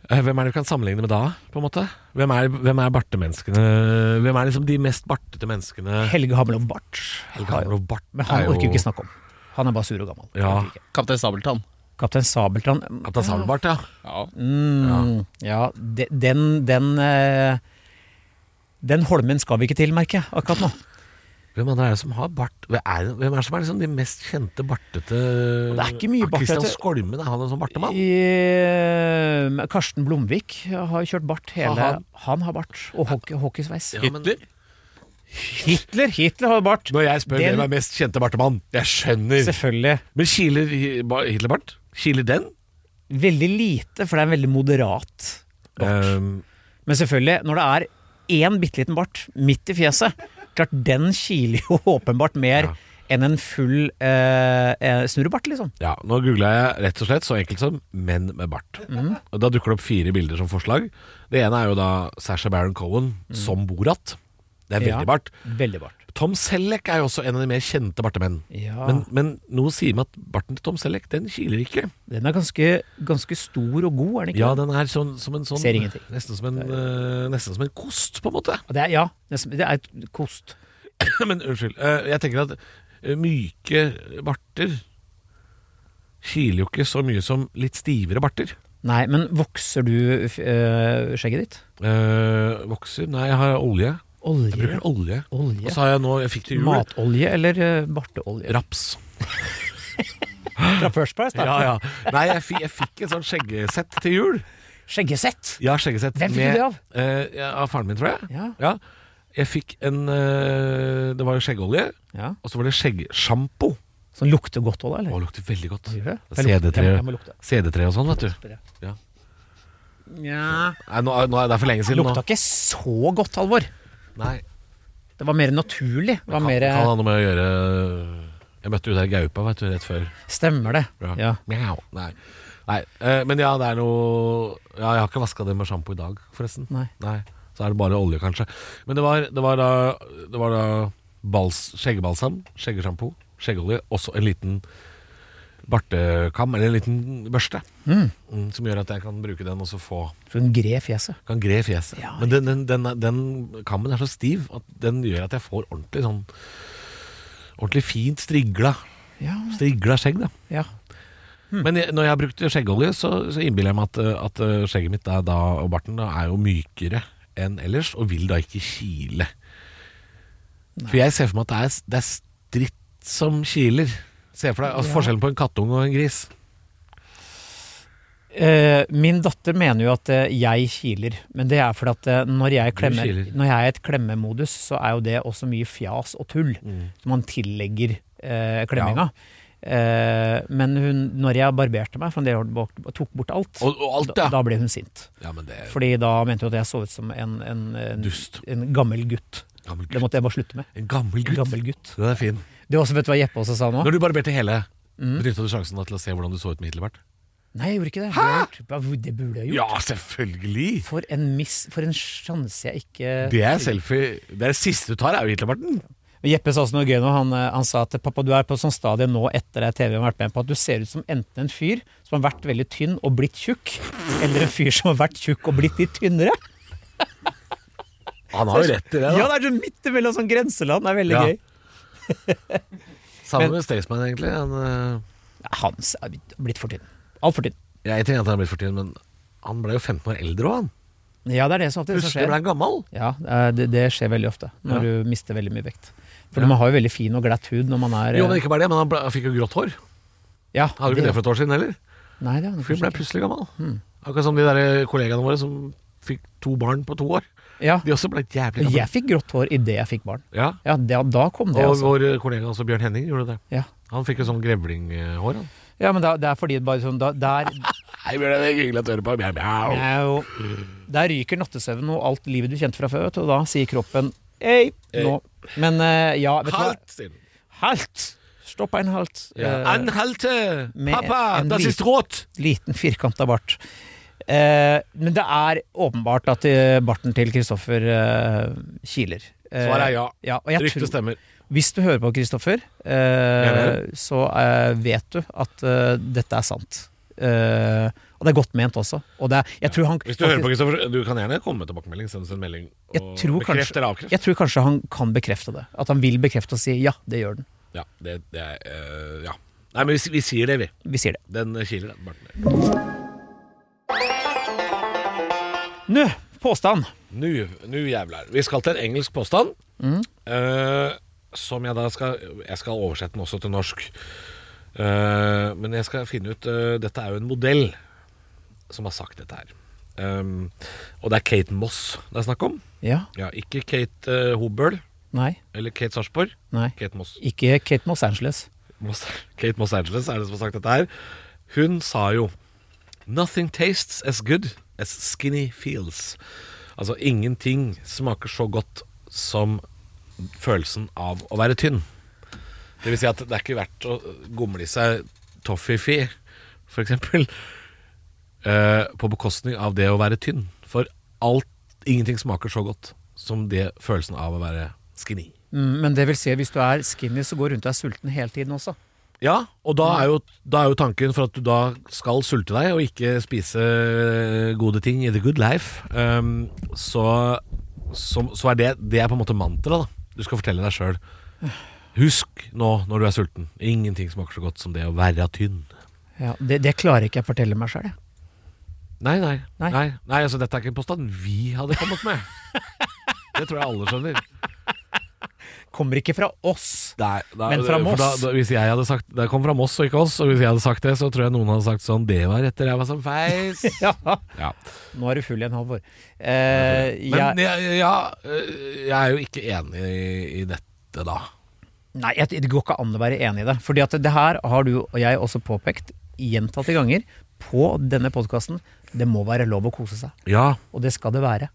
[SPEAKER 2] Eh, Hvem er det vi kan sammenligne med da? på en måte? Hvem er, hvem er bartemenneskene? Hvem er liksom de mest bartete menneskene?
[SPEAKER 3] Helge Hamelov Bart.
[SPEAKER 2] Helge Harlov Bart
[SPEAKER 3] Men han
[SPEAKER 2] er jo-
[SPEAKER 3] orker vi ikke snakke om. Han er bare sur og gammel.
[SPEAKER 2] Ja.
[SPEAKER 3] Orker ikke.
[SPEAKER 1] Kaptein Sabeltann.
[SPEAKER 3] Kaptein Sabeltann
[SPEAKER 2] Kaptein Sabelbart, ja.
[SPEAKER 1] Ja.
[SPEAKER 3] Mm, ja, de- den den eh, Den holmen skal vi ikke til, merker jeg, akkurat nå.
[SPEAKER 2] Hvem andre er det som har bart? Hvem er det, hvem er det som er liksom de mest kjente bartete
[SPEAKER 3] Det er ikke mye
[SPEAKER 2] Ah, Christian
[SPEAKER 3] bartete.
[SPEAKER 2] Skolmen, er han en sånn bartemann?
[SPEAKER 3] I, eh, Karsten Blomvik har jo kjørt bart hele
[SPEAKER 2] Har han?
[SPEAKER 3] Han, har bart, og hockey, hockeysveis.
[SPEAKER 2] Ja, men-
[SPEAKER 3] Hitler Hitler har bart.
[SPEAKER 2] Når jeg spør
[SPEAKER 3] Den-
[SPEAKER 2] hvem er mest kjente bartemann, jeg skjønner.
[SPEAKER 3] Selvfølgelig.
[SPEAKER 2] Men kiler Hi- Ba- Hitlerbart? Kiler den?
[SPEAKER 3] Veldig lite, for det er en veldig moderat
[SPEAKER 2] Ehm,
[SPEAKER 3] Men selvfølgelig, når det er én bitte liten bart midt i fjeset Klart, den kiler jo åpenbart mer
[SPEAKER 2] Ja.
[SPEAKER 3] enn en full eh, eh, snurrebart, liksom.
[SPEAKER 2] ja, nå googla jeg rett og slett så enkelt som 'menn med bart'.
[SPEAKER 3] Mhm.
[SPEAKER 2] Og Da dukker det opp fire bilder som forslag. Det ene er jo da Sasha Baron Cohen som Borat. Det er veldig
[SPEAKER 3] Mhm. Ja.
[SPEAKER 2] bart.
[SPEAKER 3] Veldig bart.
[SPEAKER 2] Tom Selleck er jo også en av de mer kjente bartemenn.
[SPEAKER 3] Ja.
[SPEAKER 2] Men, men noe sier meg at barten til Tom Selleck, den kiler ikke.
[SPEAKER 3] Den er ganske, ganske stor og god, er den ikke?
[SPEAKER 2] Ja,
[SPEAKER 3] det.
[SPEAKER 2] den er sånn, som en sånn
[SPEAKER 3] Ser ingenting.
[SPEAKER 2] Nesten som en, eh, nesten som en kost, på en måte.
[SPEAKER 3] Det er, ja, det er- det er et kost.
[SPEAKER 2] Men unnskyld. eh, jeg tenker at eh, myke barter kiler jo ikke så mye som litt stivere barter.
[SPEAKER 3] Nei, men vokser du f- eh, skjegget ditt?
[SPEAKER 2] Eh, vokser Nei, jeg har olje. Jeg
[SPEAKER 3] Olje?
[SPEAKER 2] bruker olje. Og
[SPEAKER 3] Olje?
[SPEAKER 2] så har jeg nå Jeg fikk til jul
[SPEAKER 3] Matolje eller eh, barteolje?
[SPEAKER 2] raps.
[SPEAKER 3] Fra First Price,
[SPEAKER 2] Ja, ja. Nei, jeg, fi- jeg fikk en sånn skjeggesett til jul.
[SPEAKER 3] Skjeggesett!
[SPEAKER 2] Ja, skjeggesett.
[SPEAKER 3] Hvem fikk du
[SPEAKER 2] med-
[SPEAKER 3] det av?
[SPEAKER 2] eh, ja, av faren min, tror jeg.
[SPEAKER 3] Ja.
[SPEAKER 2] Ja. Jeg fikk en eh, Det var skjeggolje,
[SPEAKER 3] ja.
[SPEAKER 2] og så var det skjeggsjampo.
[SPEAKER 3] Som lukter godt òg, da?
[SPEAKER 2] Å,
[SPEAKER 3] eller?
[SPEAKER 2] det lukter veldig godt.
[SPEAKER 3] Gjør det?
[SPEAKER 2] Det er CD3.
[SPEAKER 3] Jeg må lukte.
[SPEAKER 2] CD3 og sånn, vet du. Ja.
[SPEAKER 3] Nja
[SPEAKER 2] Nei, nå, er- nå er det er for lenge siden.
[SPEAKER 3] Lukta
[SPEAKER 2] nå.
[SPEAKER 3] ikke så godt, Halvor.
[SPEAKER 2] Nei,
[SPEAKER 3] Det var mer naturlig. Det var
[SPEAKER 2] kan,
[SPEAKER 3] mer,
[SPEAKER 2] kan ha noe med å gjøre Jeg møtte jo der gaupa, vet du, rett før.
[SPEAKER 3] eh, stemmer det. Ja.
[SPEAKER 2] Mjau. Nei. Nei. eh, Men ja, det er noe Ja, jeg har ikke vaska det med sjampo i dag, forresten.
[SPEAKER 3] Nei.
[SPEAKER 2] Så er det bare olje, kanskje. Men det var, det var da, det var da bals, skjeggebalsam, skjeggesjampo, skjeggeolje, også en liten bartekam, eller en liten børste, Mm, som gjør at jeg kan bruke den og så få
[SPEAKER 3] For hun gred fjeset.
[SPEAKER 2] Kan gre fjeset.
[SPEAKER 3] Ja,
[SPEAKER 2] Men den, den, den, den kammen er så stiv at den gjør at jeg får ordentlig sånn Ordentlig fint strigla,
[SPEAKER 3] Ja.
[SPEAKER 2] strigla skjegg, da.
[SPEAKER 3] ja. Mm.
[SPEAKER 2] Men jeg, når jeg har brukt skjeggolje, så, så innbiller jeg meg at, eh, at eh, skjegget mitt da, da, og barten da, er jo mykere enn ellers, og vil da ikke kile. For jeg ser for meg at det er, det er stritt som kiler. Se for deg altså, forskjellen på en kattunge og en gris.
[SPEAKER 3] Eh, min datter mener jo at eh, jeg kiler, men det er fordi at eh, når, jeg klemmer,
[SPEAKER 2] kiler.
[SPEAKER 3] når jeg er i et klemmemodus, så er jo det også mye fjas og tull
[SPEAKER 2] Mm.
[SPEAKER 3] som man tillegger eh, klemminga. Eh, men hun, når jeg barberte meg, for det tok bort alt,
[SPEAKER 2] Og, og alt,
[SPEAKER 3] da,
[SPEAKER 2] ja.
[SPEAKER 3] da ble hun sint.
[SPEAKER 2] Ja, men det er
[SPEAKER 3] Fordi da mente hun at jeg så ut som en, en, en,
[SPEAKER 2] Dust.
[SPEAKER 3] en gammel gutt.
[SPEAKER 2] gammel
[SPEAKER 3] Det
[SPEAKER 2] gutt.
[SPEAKER 3] måtte jeg bare slutte med.
[SPEAKER 2] En gammel gutt.
[SPEAKER 3] Gammel gutt.
[SPEAKER 2] Den er fin.
[SPEAKER 3] Det er også, vet du hva Jeppe også sa nå?
[SPEAKER 2] Når du barberte hele,
[SPEAKER 3] Mm.
[SPEAKER 2] benytta du sjansen da til å se hvordan du så ut med Hitlerbart?
[SPEAKER 3] Nei, jeg gjorde ikke det. Hæ? Det burde jeg gjort.
[SPEAKER 2] Ja, selvfølgelig!
[SPEAKER 3] For en miss, for en sjanse jeg ikke
[SPEAKER 2] Det er selfie Det er det siste du tar, er jo Hitlerbarten.
[SPEAKER 3] Jeppe sa også noe gøy nå. Han, eh, han sa at pappa, du er på et sånt stadium nå etter at TV har vært med på at du ser ut som enten en fyr som har vært veldig tynn og blitt tjukk, eller en fyr som har vært tjukk og blitt litt tynnere.
[SPEAKER 2] Han har jo rett i det,
[SPEAKER 3] Ja,
[SPEAKER 2] da.
[SPEAKER 3] det er sånn midt imellom sånn grenseland. Det er veldig
[SPEAKER 2] Ja.
[SPEAKER 3] gøy.
[SPEAKER 2] Sammen med Staysman, egentlig. Han, eh,
[SPEAKER 3] Ja, Hans er blitt- blitt for tynn. Altfor tynn.
[SPEAKER 2] jeg trenger at han er blitt for tynn, men han ble jo 15 år eldre òg, han.
[SPEAKER 3] Ja, det er det som alltid
[SPEAKER 2] Plutselig
[SPEAKER 3] skjer.
[SPEAKER 2] ble han gammel.
[SPEAKER 3] Ja, eh, det, det skjer veldig ofte når du mister veldig mye vekt. For
[SPEAKER 2] Ja.
[SPEAKER 3] man har jo veldig fin og glatt hud når man er
[SPEAKER 2] Jo,
[SPEAKER 3] eh,
[SPEAKER 2] men ikke bare det, men han, ble, han fikk jo grått hår.
[SPEAKER 3] ja,
[SPEAKER 2] Hadde jo ikke det for et år siden heller.
[SPEAKER 3] Nei, det hadde
[SPEAKER 2] Fyren
[SPEAKER 3] kanskje
[SPEAKER 2] ble plutselig gammel.
[SPEAKER 3] Hmm.
[SPEAKER 2] Akkurat som de der kollegaene våre som fikk to barn på to år.
[SPEAKER 3] ikke. Ja.
[SPEAKER 2] De også ble jævlig gamle.
[SPEAKER 3] Jeg fikk grått hår idet jeg fikk barn.
[SPEAKER 2] Ja.
[SPEAKER 3] Ja, det, da kom det,
[SPEAKER 2] Og
[SPEAKER 3] altså.
[SPEAKER 2] vår kollega også, Bjørn Henning, gjorde det.
[SPEAKER 3] Ja,
[SPEAKER 2] Han fikk jo sånn grevlinghår, han.
[SPEAKER 3] ja men da, det er fordi det bare sånn da, der,
[SPEAKER 2] Nei, Bjørn Henning, hyggelig at du hører på. Mjau, mjau.
[SPEAKER 3] Mjau. der ryker nattesøvnen og alt livet du kjente fra før, vet du, og da sier kroppen Ei, nå. Men eh, ja, vet du hva?
[SPEAKER 2] Halt stille.
[SPEAKER 3] Halt! Stopp en halt.
[SPEAKER 2] Ja.
[SPEAKER 3] Eh,
[SPEAKER 2] Anhalte!
[SPEAKER 3] med
[SPEAKER 2] Pappa,
[SPEAKER 3] en
[SPEAKER 2] das
[SPEAKER 3] lit-
[SPEAKER 2] ist rot!
[SPEAKER 3] liten firkanta bart. Eh, men det er åpenbart at eh, barten til Kristoffer eh, kiler. Eh,
[SPEAKER 2] Svaret er ja.
[SPEAKER 3] og jeg
[SPEAKER 2] Ryktet
[SPEAKER 3] tror,
[SPEAKER 2] stemmer.
[SPEAKER 3] hvis du hører på Kristoffer, eh,
[SPEAKER 2] Mener
[SPEAKER 3] så eh, vet du at eh, dette er sant. Eh, og det er godt ment også. Og det er, jeg, tror han,
[SPEAKER 2] Hvis du hører på, Kristoffer, du kan gjerne komme med tilbakemelding. Send oss en melding.
[SPEAKER 3] Jeg
[SPEAKER 2] Og
[SPEAKER 3] tror
[SPEAKER 2] bekreft
[SPEAKER 3] kanskje-
[SPEAKER 2] eller avkreft.
[SPEAKER 3] jeg tror kanskje han kan bekrefte det. At han vil bekrefte og si ja, det gjør den.
[SPEAKER 2] Ja, det, det er eh, Ja. Nei, men vi, vi sier det, vi.
[SPEAKER 3] Vi sier det.
[SPEAKER 2] Den kiler, den barten der.
[SPEAKER 3] Nå, påstand.
[SPEAKER 2] Nu, nu jævlar. Vi skal til en engelsk påstand. eh, som jeg da skal Jeg skal oversette den også til norsk. Eh, men jeg skal finne ut eh, Dette er jo en modell som har sagt dette her. Um, og det er Kate Moss det er snakk om.
[SPEAKER 3] Ja.
[SPEAKER 2] Ja, ikke Kate eh, Hobøl
[SPEAKER 3] Nei.
[SPEAKER 2] eller Kate Sarpsborg.
[SPEAKER 3] Nei.
[SPEAKER 2] Kate Moss.
[SPEAKER 3] Ikke Kate Moss Angeles.
[SPEAKER 2] Moss Kate Moss Angeles er det som har sagt dette her. Hun sa jo Nothing tastes as good as skinny feels. Altså ingenting smaker så godt som følelsen av å være tynn. Det vil si at det er ikke verdt å gomle i seg toffifee, for eksempel, eh, på bekostning av det å være tynn. For alt, ingenting smaker så godt som det følelsen av å være skinny.
[SPEAKER 3] Mm, Men det vil si at hvis du er skinny, så går rundt og er sulten hele tiden også.
[SPEAKER 2] Ja, og da er, jo, da er jo tanken for at du da skal sulte deg og ikke spise eh, gode ting i the good life, ehm, så, så, så er det, det er på en måte mantra da. Du skal fortelle deg sjøl. Husk nå når du er sulten. Ingenting smaker så godt som det å være tynn.
[SPEAKER 3] Ja, det, det klarer ikke jeg å fortelle meg sjøl, jeg.
[SPEAKER 2] Nei, nei.
[SPEAKER 3] Nei.
[SPEAKER 2] nei. nei, altså Dette er ikke en påstand vi hadde kommet med. Det tror jeg alle skjønner.
[SPEAKER 3] Kommer ikke fra oss.
[SPEAKER 2] Nei, nei,
[SPEAKER 3] Men fra
[SPEAKER 2] for Da,
[SPEAKER 3] Moss?
[SPEAKER 2] da, hvis jeg hadde sagt, det kom fra Moss og ikke oss, og hvis jeg hadde sagt det, så tror jeg noen hadde sagt sånn Det var etter jeg var som feis.
[SPEAKER 3] Ja,
[SPEAKER 2] ja.
[SPEAKER 3] nå er du full igjen, Halvor. Eh,
[SPEAKER 2] Men
[SPEAKER 3] jeg,
[SPEAKER 2] ja, ja, øh, jeg er jo ikke enig i, i dette, da.
[SPEAKER 3] nei, jeg, det går ikke an å være enig i det. Fordi at det her har du og jeg også påpekt gjentatte ganger på denne podkasten. Det må være lov å kose seg.
[SPEAKER 2] Ja,
[SPEAKER 3] Og det skal det være.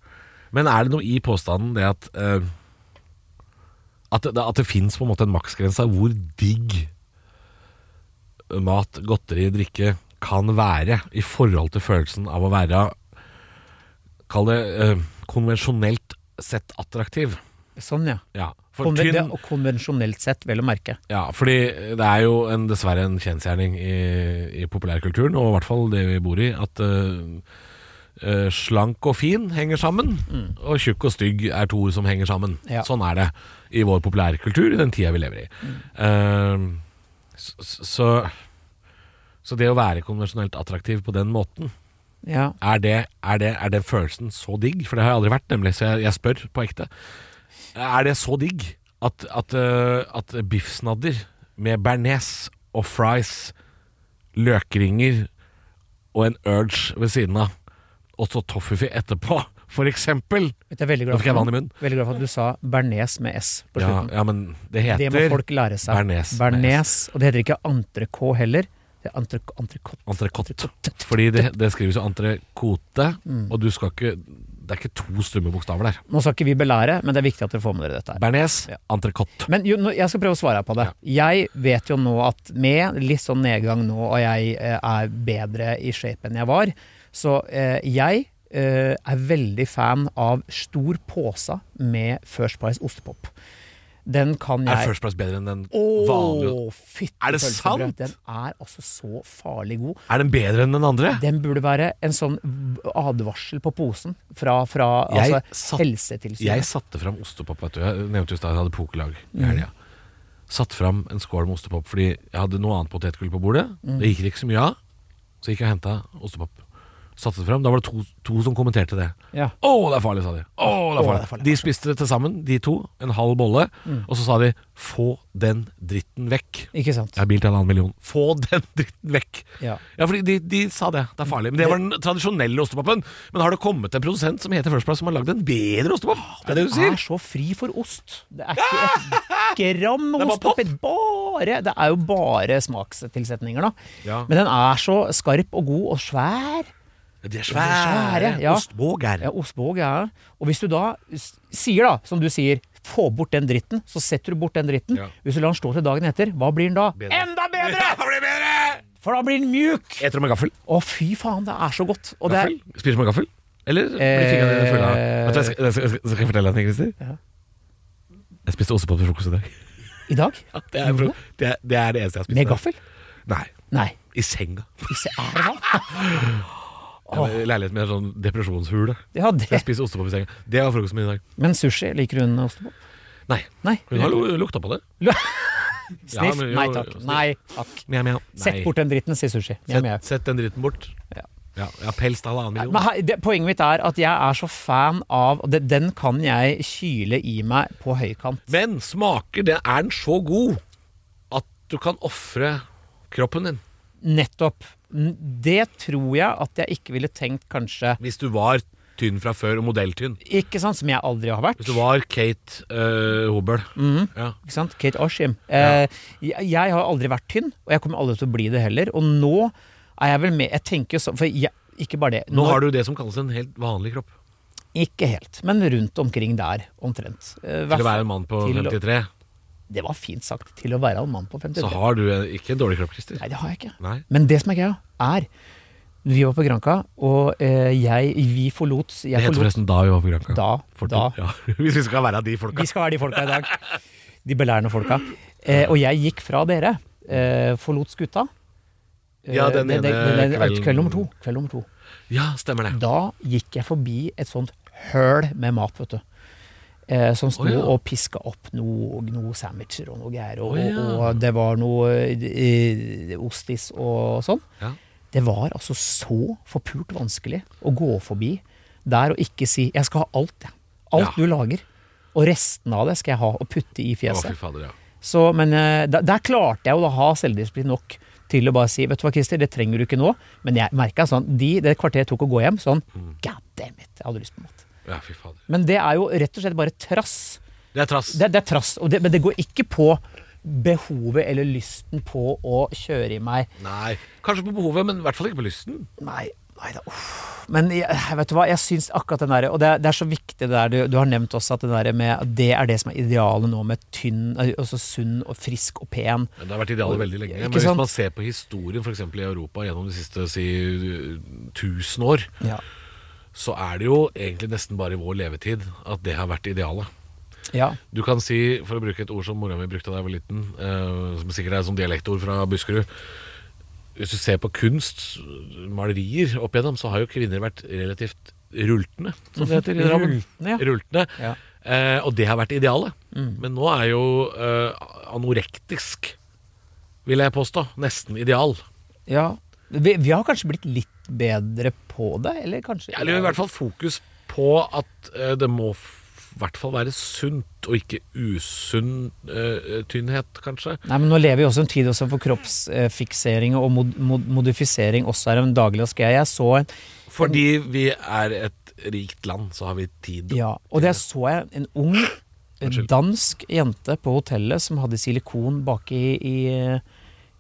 [SPEAKER 2] Men er det noe i påstanden det at øh, At det, at det fins på en måte en maksgrense av hvor digg mat, godteri, drikke kan være i forhold til følelsen av å være Kall det øh, konvensjonelt sett attraktiv.
[SPEAKER 3] Sånn, ja.
[SPEAKER 2] Ja, for
[SPEAKER 3] Konven, det,
[SPEAKER 2] tynn
[SPEAKER 3] og konvensjonelt sett, vel å merke.
[SPEAKER 2] Ja, fordi det er jo en, dessverre en kjensgjerning i, i populærkulturen, og i hvert fall det vi bor i, at eh, eh, slank og fin henger sammen, og tjukk og stygg er to ord som henger sammen.
[SPEAKER 3] Ja.
[SPEAKER 2] Sånn er det i vår populærkultur i den tida vi lever i. Eh, s- s- så, så det å være konvensjonelt attraktiv på den måten,
[SPEAKER 3] Ja.
[SPEAKER 2] er det, er det, er den følelsen så digg? For det har jeg aldri vært, nemlig, så jeg, jeg spør på ekte. Er det så digg at, at, øh, at biffsnadder med bearnés og fries, løkringer og en urge ved siden av, og så toffifee etterpå, for eksempel?
[SPEAKER 3] Vet du, Jeg er veldig
[SPEAKER 2] Nå
[SPEAKER 3] glad,
[SPEAKER 2] fikk jeg
[SPEAKER 3] for,
[SPEAKER 2] vann i munnen.
[SPEAKER 3] veldig glad for at du sa bearnés med s på
[SPEAKER 2] Ja,
[SPEAKER 3] slutten.
[SPEAKER 2] ja, men det heter
[SPEAKER 3] Det må folk lære seg.
[SPEAKER 2] bearnés med
[SPEAKER 3] Bearnés. Og det heter ikke entrecôte heller. Det er entrec- entrecôte.
[SPEAKER 2] entrecôte. Fordi det, det skrives jo entrecôte,
[SPEAKER 3] Mm.
[SPEAKER 2] og du skal ikke Det er ikke to stumme bokstaver der.
[SPEAKER 3] Nå skal ikke vi belære, men det er viktig at dere får med dere dette. her.
[SPEAKER 2] Bearnés,
[SPEAKER 3] Ja.
[SPEAKER 2] entrecôte.
[SPEAKER 3] Men jo, nå- jeg skal prøve å svare på det. Jeg vet jo nå at med litt sånn nedgang nå, og jeg eh, er bedre i shape enn jeg var, så eh, jeg eh, er veldig fan av stor påse med First Price ostepop. Den kan
[SPEAKER 2] Er
[SPEAKER 3] jeg
[SPEAKER 2] First Price bedre enn den vanlige?
[SPEAKER 3] Å, fytti
[SPEAKER 2] Er det sant?
[SPEAKER 3] pølsebrød. Den er altså så farlig god.
[SPEAKER 2] Er den bedre enn den andre?
[SPEAKER 3] Den burde være en sånn advarsel på posen fra, fra
[SPEAKER 2] Jeg
[SPEAKER 3] altså,
[SPEAKER 2] satt- Jeg
[SPEAKER 3] Helsetilsynet.
[SPEAKER 2] satte fram ostepop. Vet du. Jeg nevnte jo i stad at jeg hadde pokerlag i helga.
[SPEAKER 3] Mm.
[SPEAKER 2] Satte fram en skål med ostepop fordi jeg hadde noe annet potetgull på bordet.
[SPEAKER 3] Mm.
[SPEAKER 2] Det gikk det ikke så mye av, så gikk jeg og henta ostepop. Satte det fram. Da var det to, to som kommenterte det.
[SPEAKER 3] Ja.
[SPEAKER 2] Å, det er farlig, sa de. Å, det er farlig.
[SPEAKER 3] Å, det er farlig. Mm.
[SPEAKER 2] De spiste det til sammen, de to. En halv bolle. Og så sa de 'få den dritten vekk'.
[SPEAKER 3] Ikke sant?
[SPEAKER 2] Jeg har bil til halvannen million. Få den dritten vekk!
[SPEAKER 3] Ja.
[SPEAKER 2] Ja, fordi de, de sa det. Det er farlig. Men Det var den tradisjonelle ostepopen. Men har det kommet en produsent som heter First Price som har lagd en bedre ostepop? Er Ah, det det du
[SPEAKER 3] Den
[SPEAKER 2] sier?
[SPEAKER 3] er så fri for ost. Det er ikke et gram
[SPEAKER 2] er bare
[SPEAKER 3] ost oppi. Bare, det er jo bare smakstilsetninger, da.
[SPEAKER 2] Ja.
[SPEAKER 3] Men den er så skarp og god og svær.
[SPEAKER 2] Ah, De er
[SPEAKER 3] svære, ja.
[SPEAKER 2] Ostbåger.
[SPEAKER 3] Ja, Ostbåg er Og hvis du da s- sier, da, som du sier, få bort den dritten, så setter du bort den dritten.
[SPEAKER 2] Ja.
[SPEAKER 3] Hvis du lar den stå til dagen etter, hva blir den da?
[SPEAKER 2] Bedre.
[SPEAKER 3] Enda bedre!
[SPEAKER 2] Det blir bedre!
[SPEAKER 3] For da blir den mjuk!
[SPEAKER 2] Eter du med gaffel?
[SPEAKER 3] Å, fy faen, det er så godt. Og det er,
[SPEAKER 2] gaffel? Spiser du med gaffel? Eller blir fingrene dine fulle av Vet du, hva, jeg skal, jeg skal, jeg skal jeg fortelle deg en ting, Christer?
[SPEAKER 3] Ja.
[SPEAKER 2] Jeg spiste ostepop til frokost i dag.
[SPEAKER 3] I dag?
[SPEAKER 2] Det er, det, er, det er det eneste jeg har spist. i
[SPEAKER 3] Med
[SPEAKER 2] dag.
[SPEAKER 3] gaffel?
[SPEAKER 2] Nei.
[SPEAKER 3] Nei.
[SPEAKER 2] I senga.
[SPEAKER 3] Hvis jeg er det,
[SPEAKER 2] Leiligheten min er en sånn depresjonshule.
[SPEAKER 3] ja, det.
[SPEAKER 2] Jeg spiser ostepop i senga. Det var frokosten min i dag.
[SPEAKER 3] Men sushi, liker hun ostepop?
[SPEAKER 2] Nei.
[SPEAKER 3] Nei.
[SPEAKER 2] Hun har lu- lukta på det. Ja,
[SPEAKER 3] Sniff?
[SPEAKER 2] men jo,
[SPEAKER 3] Nei takk.
[SPEAKER 2] jo, sniff.
[SPEAKER 3] Nei takk.
[SPEAKER 2] Mjau, mjau.
[SPEAKER 3] Sett
[SPEAKER 2] Nei.
[SPEAKER 3] bort den dritten, sier sushi. Mjau, mjau.
[SPEAKER 2] Sett, sett den dritten bort.
[SPEAKER 3] Ja.
[SPEAKER 2] Ja, ja pels til halvannen
[SPEAKER 3] Men
[SPEAKER 2] million.
[SPEAKER 3] her, det, poenget mitt er at jeg er så fan av og det, Den kan jeg kyle i meg på høykant.
[SPEAKER 2] Men smaker, det er den så god at du kan ofre kroppen din.
[SPEAKER 3] Nettopp. N- Det tror jeg at jeg ikke ville tenkt kanskje
[SPEAKER 2] Hvis du var tynn fra før og modelltynn.
[SPEAKER 3] Ikke sant, som jeg aldri har vært.
[SPEAKER 2] Hvis du var Kate øh, Hobøl. Ja.
[SPEAKER 3] Ikke sant? Kate Oshim. Eh, jeg, jeg har aldri vært tynn, og jeg kommer aldri til å bli det heller. Og nå er jeg vel med Jeg tenker jo sånn For jeg, ikke bare det.
[SPEAKER 2] Nå har du det som kalles en helt vanlig kropp.
[SPEAKER 3] Ikke helt, men rundt omkring der, omtrent. Eh,
[SPEAKER 2] Til å være en mann på
[SPEAKER 3] til å-
[SPEAKER 2] 53,
[SPEAKER 3] Det var fint sagt. Til å være en mann på 50.
[SPEAKER 2] så har du en- ikke en dårlig kropp, Christer.
[SPEAKER 3] Nei, det har jeg ikke.
[SPEAKER 2] Nei.
[SPEAKER 3] Men det som er greia, er Vi var på Granka, og eh, jeg Vi forlot jeg
[SPEAKER 2] Det heter
[SPEAKER 3] forlot,
[SPEAKER 2] forresten da vi var på Granka.
[SPEAKER 3] Da.
[SPEAKER 2] For-
[SPEAKER 3] da.
[SPEAKER 2] Ja. Hvis vi skal være av de folka.
[SPEAKER 3] Vi skal være de folka i dag. De belærende folka. Eh, og jeg gikk fra dere. Eh, forlot skuta. Eh,
[SPEAKER 2] Ja, den
[SPEAKER 3] det- det-
[SPEAKER 2] ene
[SPEAKER 3] det- det-
[SPEAKER 2] kvelden.
[SPEAKER 3] Kveld nummer to. Kveld nummer to.
[SPEAKER 2] Ja, stemmer det.
[SPEAKER 3] Da gikk jeg forbi et sånt høl med mat, vet du. Eh, som sto
[SPEAKER 2] Å, ja.
[SPEAKER 3] og piska opp noe, noe sandwicher og noe greier.
[SPEAKER 2] Å,
[SPEAKER 3] Og,
[SPEAKER 2] ja.
[SPEAKER 3] og det var noe eh, ostis og sånn.
[SPEAKER 2] Ja.
[SPEAKER 3] Det var altså så forpult vanskelig å gå forbi der og ikke si 'jeg skal ha alt, jeg'. Alt
[SPEAKER 2] Ja.
[SPEAKER 3] du lager. Og resten av det skal jeg ha og putte i
[SPEAKER 2] Å, fy
[SPEAKER 3] fjeset.
[SPEAKER 2] fader, ja.
[SPEAKER 3] Så, men eh, der, der klarte jeg jo å ha selvdisiplin nok til å bare si Vet du hva, Christer, det trenger du ikke nå. Men jeg merka sånn de, Det kvarteret tok å gå hjem, sånn
[SPEAKER 2] Mm.
[SPEAKER 3] God damn it, jeg hadde lyst på mat.
[SPEAKER 2] ja, fy fader.
[SPEAKER 3] Men det er jo rett og slett bare trass.
[SPEAKER 2] Det er trass.
[SPEAKER 3] Det, det er trass, og det, men det går ikke på behovet eller lysten på å kjøre i meg
[SPEAKER 2] Nei, kanskje på behovet, men i hvert fall ikke på lysten.
[SPEAKER 3] Nei, nei da, uff. Men jeg, vet du hva, jeg syns akkurat den derre Og det, er- det er så viktig det der du, du har nevnt også, at det der med at det er det som er idealet nå med tynn, altså sunn og frisk og pen.
[SPEAKER 2] Det har vært idealet veldig lenge.
[SPEAKER 3] Ikke
[SPEAKER 2] Men hvis
[SPEAKER 3] sant?
[SPEAKER 2] man ser på historien for eksempel i Europa gjennom de siste si, 1000 år,
[SPEAKER 3] Ja.
[SPEAKER 2] så er det jo egentlig nesten bare i vår levetid at det har vært idealet.
[SPEAKER 3] ja.
[SPEAKER 2] Du kan si, for å bruke et ord som mora mi brukte da jeg var liten, eh, som sikkert er et sånt dialektord fra Buskerud Hvis du ser på kunst, malerier opp igjennom, så har jo kvinner vært relativt rultende, som det heter i Drammen.
[SPEAKER 3] Rultende, ja.
[SPEAKER 2] Rultende.
[SPEAKER 3] Ja.
[SPEAKER 2] Eh, og det har vært idealet. Men nå er jo eh, anorektisk, vil jeg påstå, nesten ideal.
[SPEAKER 3] Ja. Vi, vi har kanskje blitt litt bedre på det, eller kanskje
[SPEAKER 2] Eller i hvert fall fokus på at eh, det må f- i hvert fall være sunt, og ikke usunn eh, tynnhet, kanskje.
[SPEAKER 3] Nei, men Nå lever vi også i en tid også for kroppsfiksering og mod, mod, modifisering også er en dagligdags greie. Jeg så en
[SPEAKER 2] Fordi vi er et rikt land, så har vi tid.
[SPEAKER 3] Ja, og der så jeg en ung eh,
[SPEAKER 2] Unnskyld.
[SPEAKER 3] dansk jente på hotellet som hadde silikon bak i, i,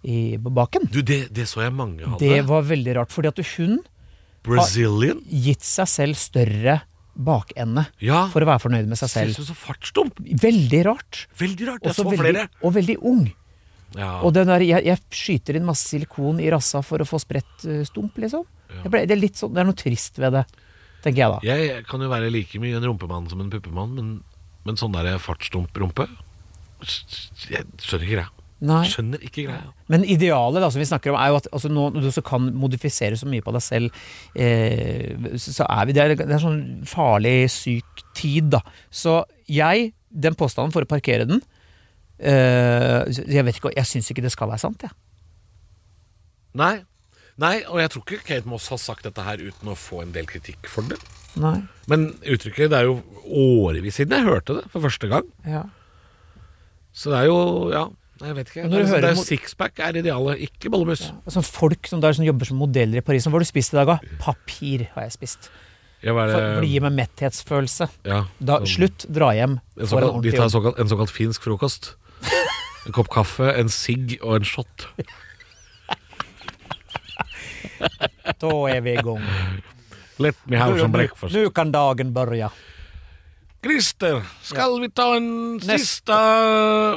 [SPEAKER 3] i på baken.
[SPEAKER 2] Du, det, det så jeg mange hadde.
[SPEAKER 3] Det var veldig rart, fordi at hun
[SPEAKER 2] Brazilian.
[SPEAKER 3] gitt seg selv større bakende
[SPEAKER 2] Ja.
[SPEAKER 3] for å være fornøyd med seg
[SPEAKER 2] Synes
[SPEAKER 3] selv.
[SPEAKER 2] du så fartsdump?
[SPEAKER 3] Veldig rart.
[SPEAKER 2] Veldig rart. Jeg
[SPEAKER 3] Også
[SPEAKER 2] så
[SPEAKER 3] veldig,
[SPEAKER 2] flere.
[SPEAKER 3] og veldig ung.
[SPEAKER 2] Ja.
[SPEAKER 3] Og den der, jeg, jeg skyter inn masse silikon i rassa for å få spredt eh, stump, liksom. Jeg ble, det, er litt sånn, det er noe trist ved det, tenker jeg da.
[SPEAKER 2] Jeg kan jo være like mye en rumpemann som en puppemann, men, men sånn der fartsdump-rumpe Jeg skjønner ikke greia.
[SPEAKER 3] Nei.
[SPEAKER 2] Skjønner ikke greia.
[SPEAKER 3] Men idealet da, som vi snakker om, er jo at altså, nå, når du også kan modifisere så mye på deg selv, eh, så så er vi Det er, det er sånn farlig syk tid, da. Så jeg Den påstanden, for å parkere den eh, Jeg vet ikke, jeg syns ikke det skal være sant, jeg.
[SPEAKER 2] Nei. Nei, og jeg tror ikke Kate Moss har sagt dette her uten å få en del kritikk for det.
[SPEAKER 3] Nei.
[SPEAKER 2] Men uttrykket Det er jo årevis siden jeg hørte det for første gang.
[SPEAKER 3] Ja.
[SPEAKER 2] Så det er jo Ja, nei, jeg vet ikke.
[SPEAKER 3] Men
[SPEAKER 2] Det
[SPEAKER 3] når
[SPEAKER 2] er,
[SPEAKER 3] du
[SPEAKER 2] liksom-
[SPEAKER 3] hører
[SPEAKER 2] det er
[SPEAKER 3] mot-
[SPEAKER 2] sixpack er idealet, ikke bollemus.
[SPEAKER 3] Sånn folk som, der, som jobber som modeller i Paris. Sånn, Hva har du spist i dag, da? Papir har jeg spist.
[SPEAKER 2] Ja, hva er
[SPEAKER 3] For,
[SPEAKER 2] det-
[SPEAKER 3] for det gir meg metthetsfølelse.
[SPEAKER 2] ja,
[SPEAKER 3] Da,
[SPEAKER 2] sånn-
[SPEAKER 3] slutt, dra hjem.
[SPEAKER 2] En
[SPEAKER 3] Får en
[SPEAKER 2] såkalt, de
[SPEAKER 3] ordentlig
[SPEAKER 2] tar
[SPEAKER 3] jobb.
[SPEAKER 2] såkalt, en såkalt finsk frokost. En kopp kaffe, en sigg og en shot.
[SPEAKER 3] Da er vi i gang.
[SPEAKER 2] Let me have some breakfast.
[SPEAKER 3] Nå kan dagen begynne.
[SPEAKER 2] Christer, skal vi ta en
[SPEAKER 3] Neste.
[SPEAKER 2] siste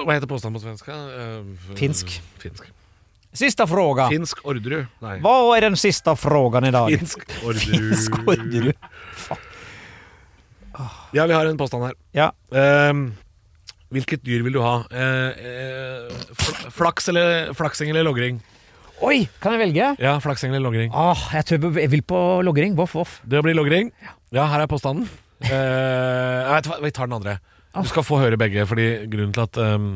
[SPEAKER 2] Hva heter påstanden på svensk? Eh,
[SPEAKER 3] Finsk.
[SPEAKER 2] Finsk,
[SPEAKER 3] Siste fråga.
[SPEAKER 2] finsk Orderud. Nei.
[SPEAKER 3] Hva er den siste frågan i dag?
[SPEAKER 2] Finsk Orderud.
[SPEAKER 3] Finsk ordre.
[SPEAKER 2] Ja, vi har en påstand her.
[SPEAKER 3] Ja.
[SPEAKER 2] Ehm, hvilket dyr vil du ha? Eh, eh, fl- flaks eller, flaksing eller logring?
[SPEAKER 3] Oi, kan jeg velge?
[SPEAKER 2] Ja, flaksing eller logring.
[SPEAKER 3] Ah, jeg tror jeg vil på logring. Voff, voff.
[SPEAKER 2] Det blir logring. Ja, her er påstanden. Eh, jeg vet, hva, vi tar den andre. Du skal få høre begge, fordi grunnen til at ehm,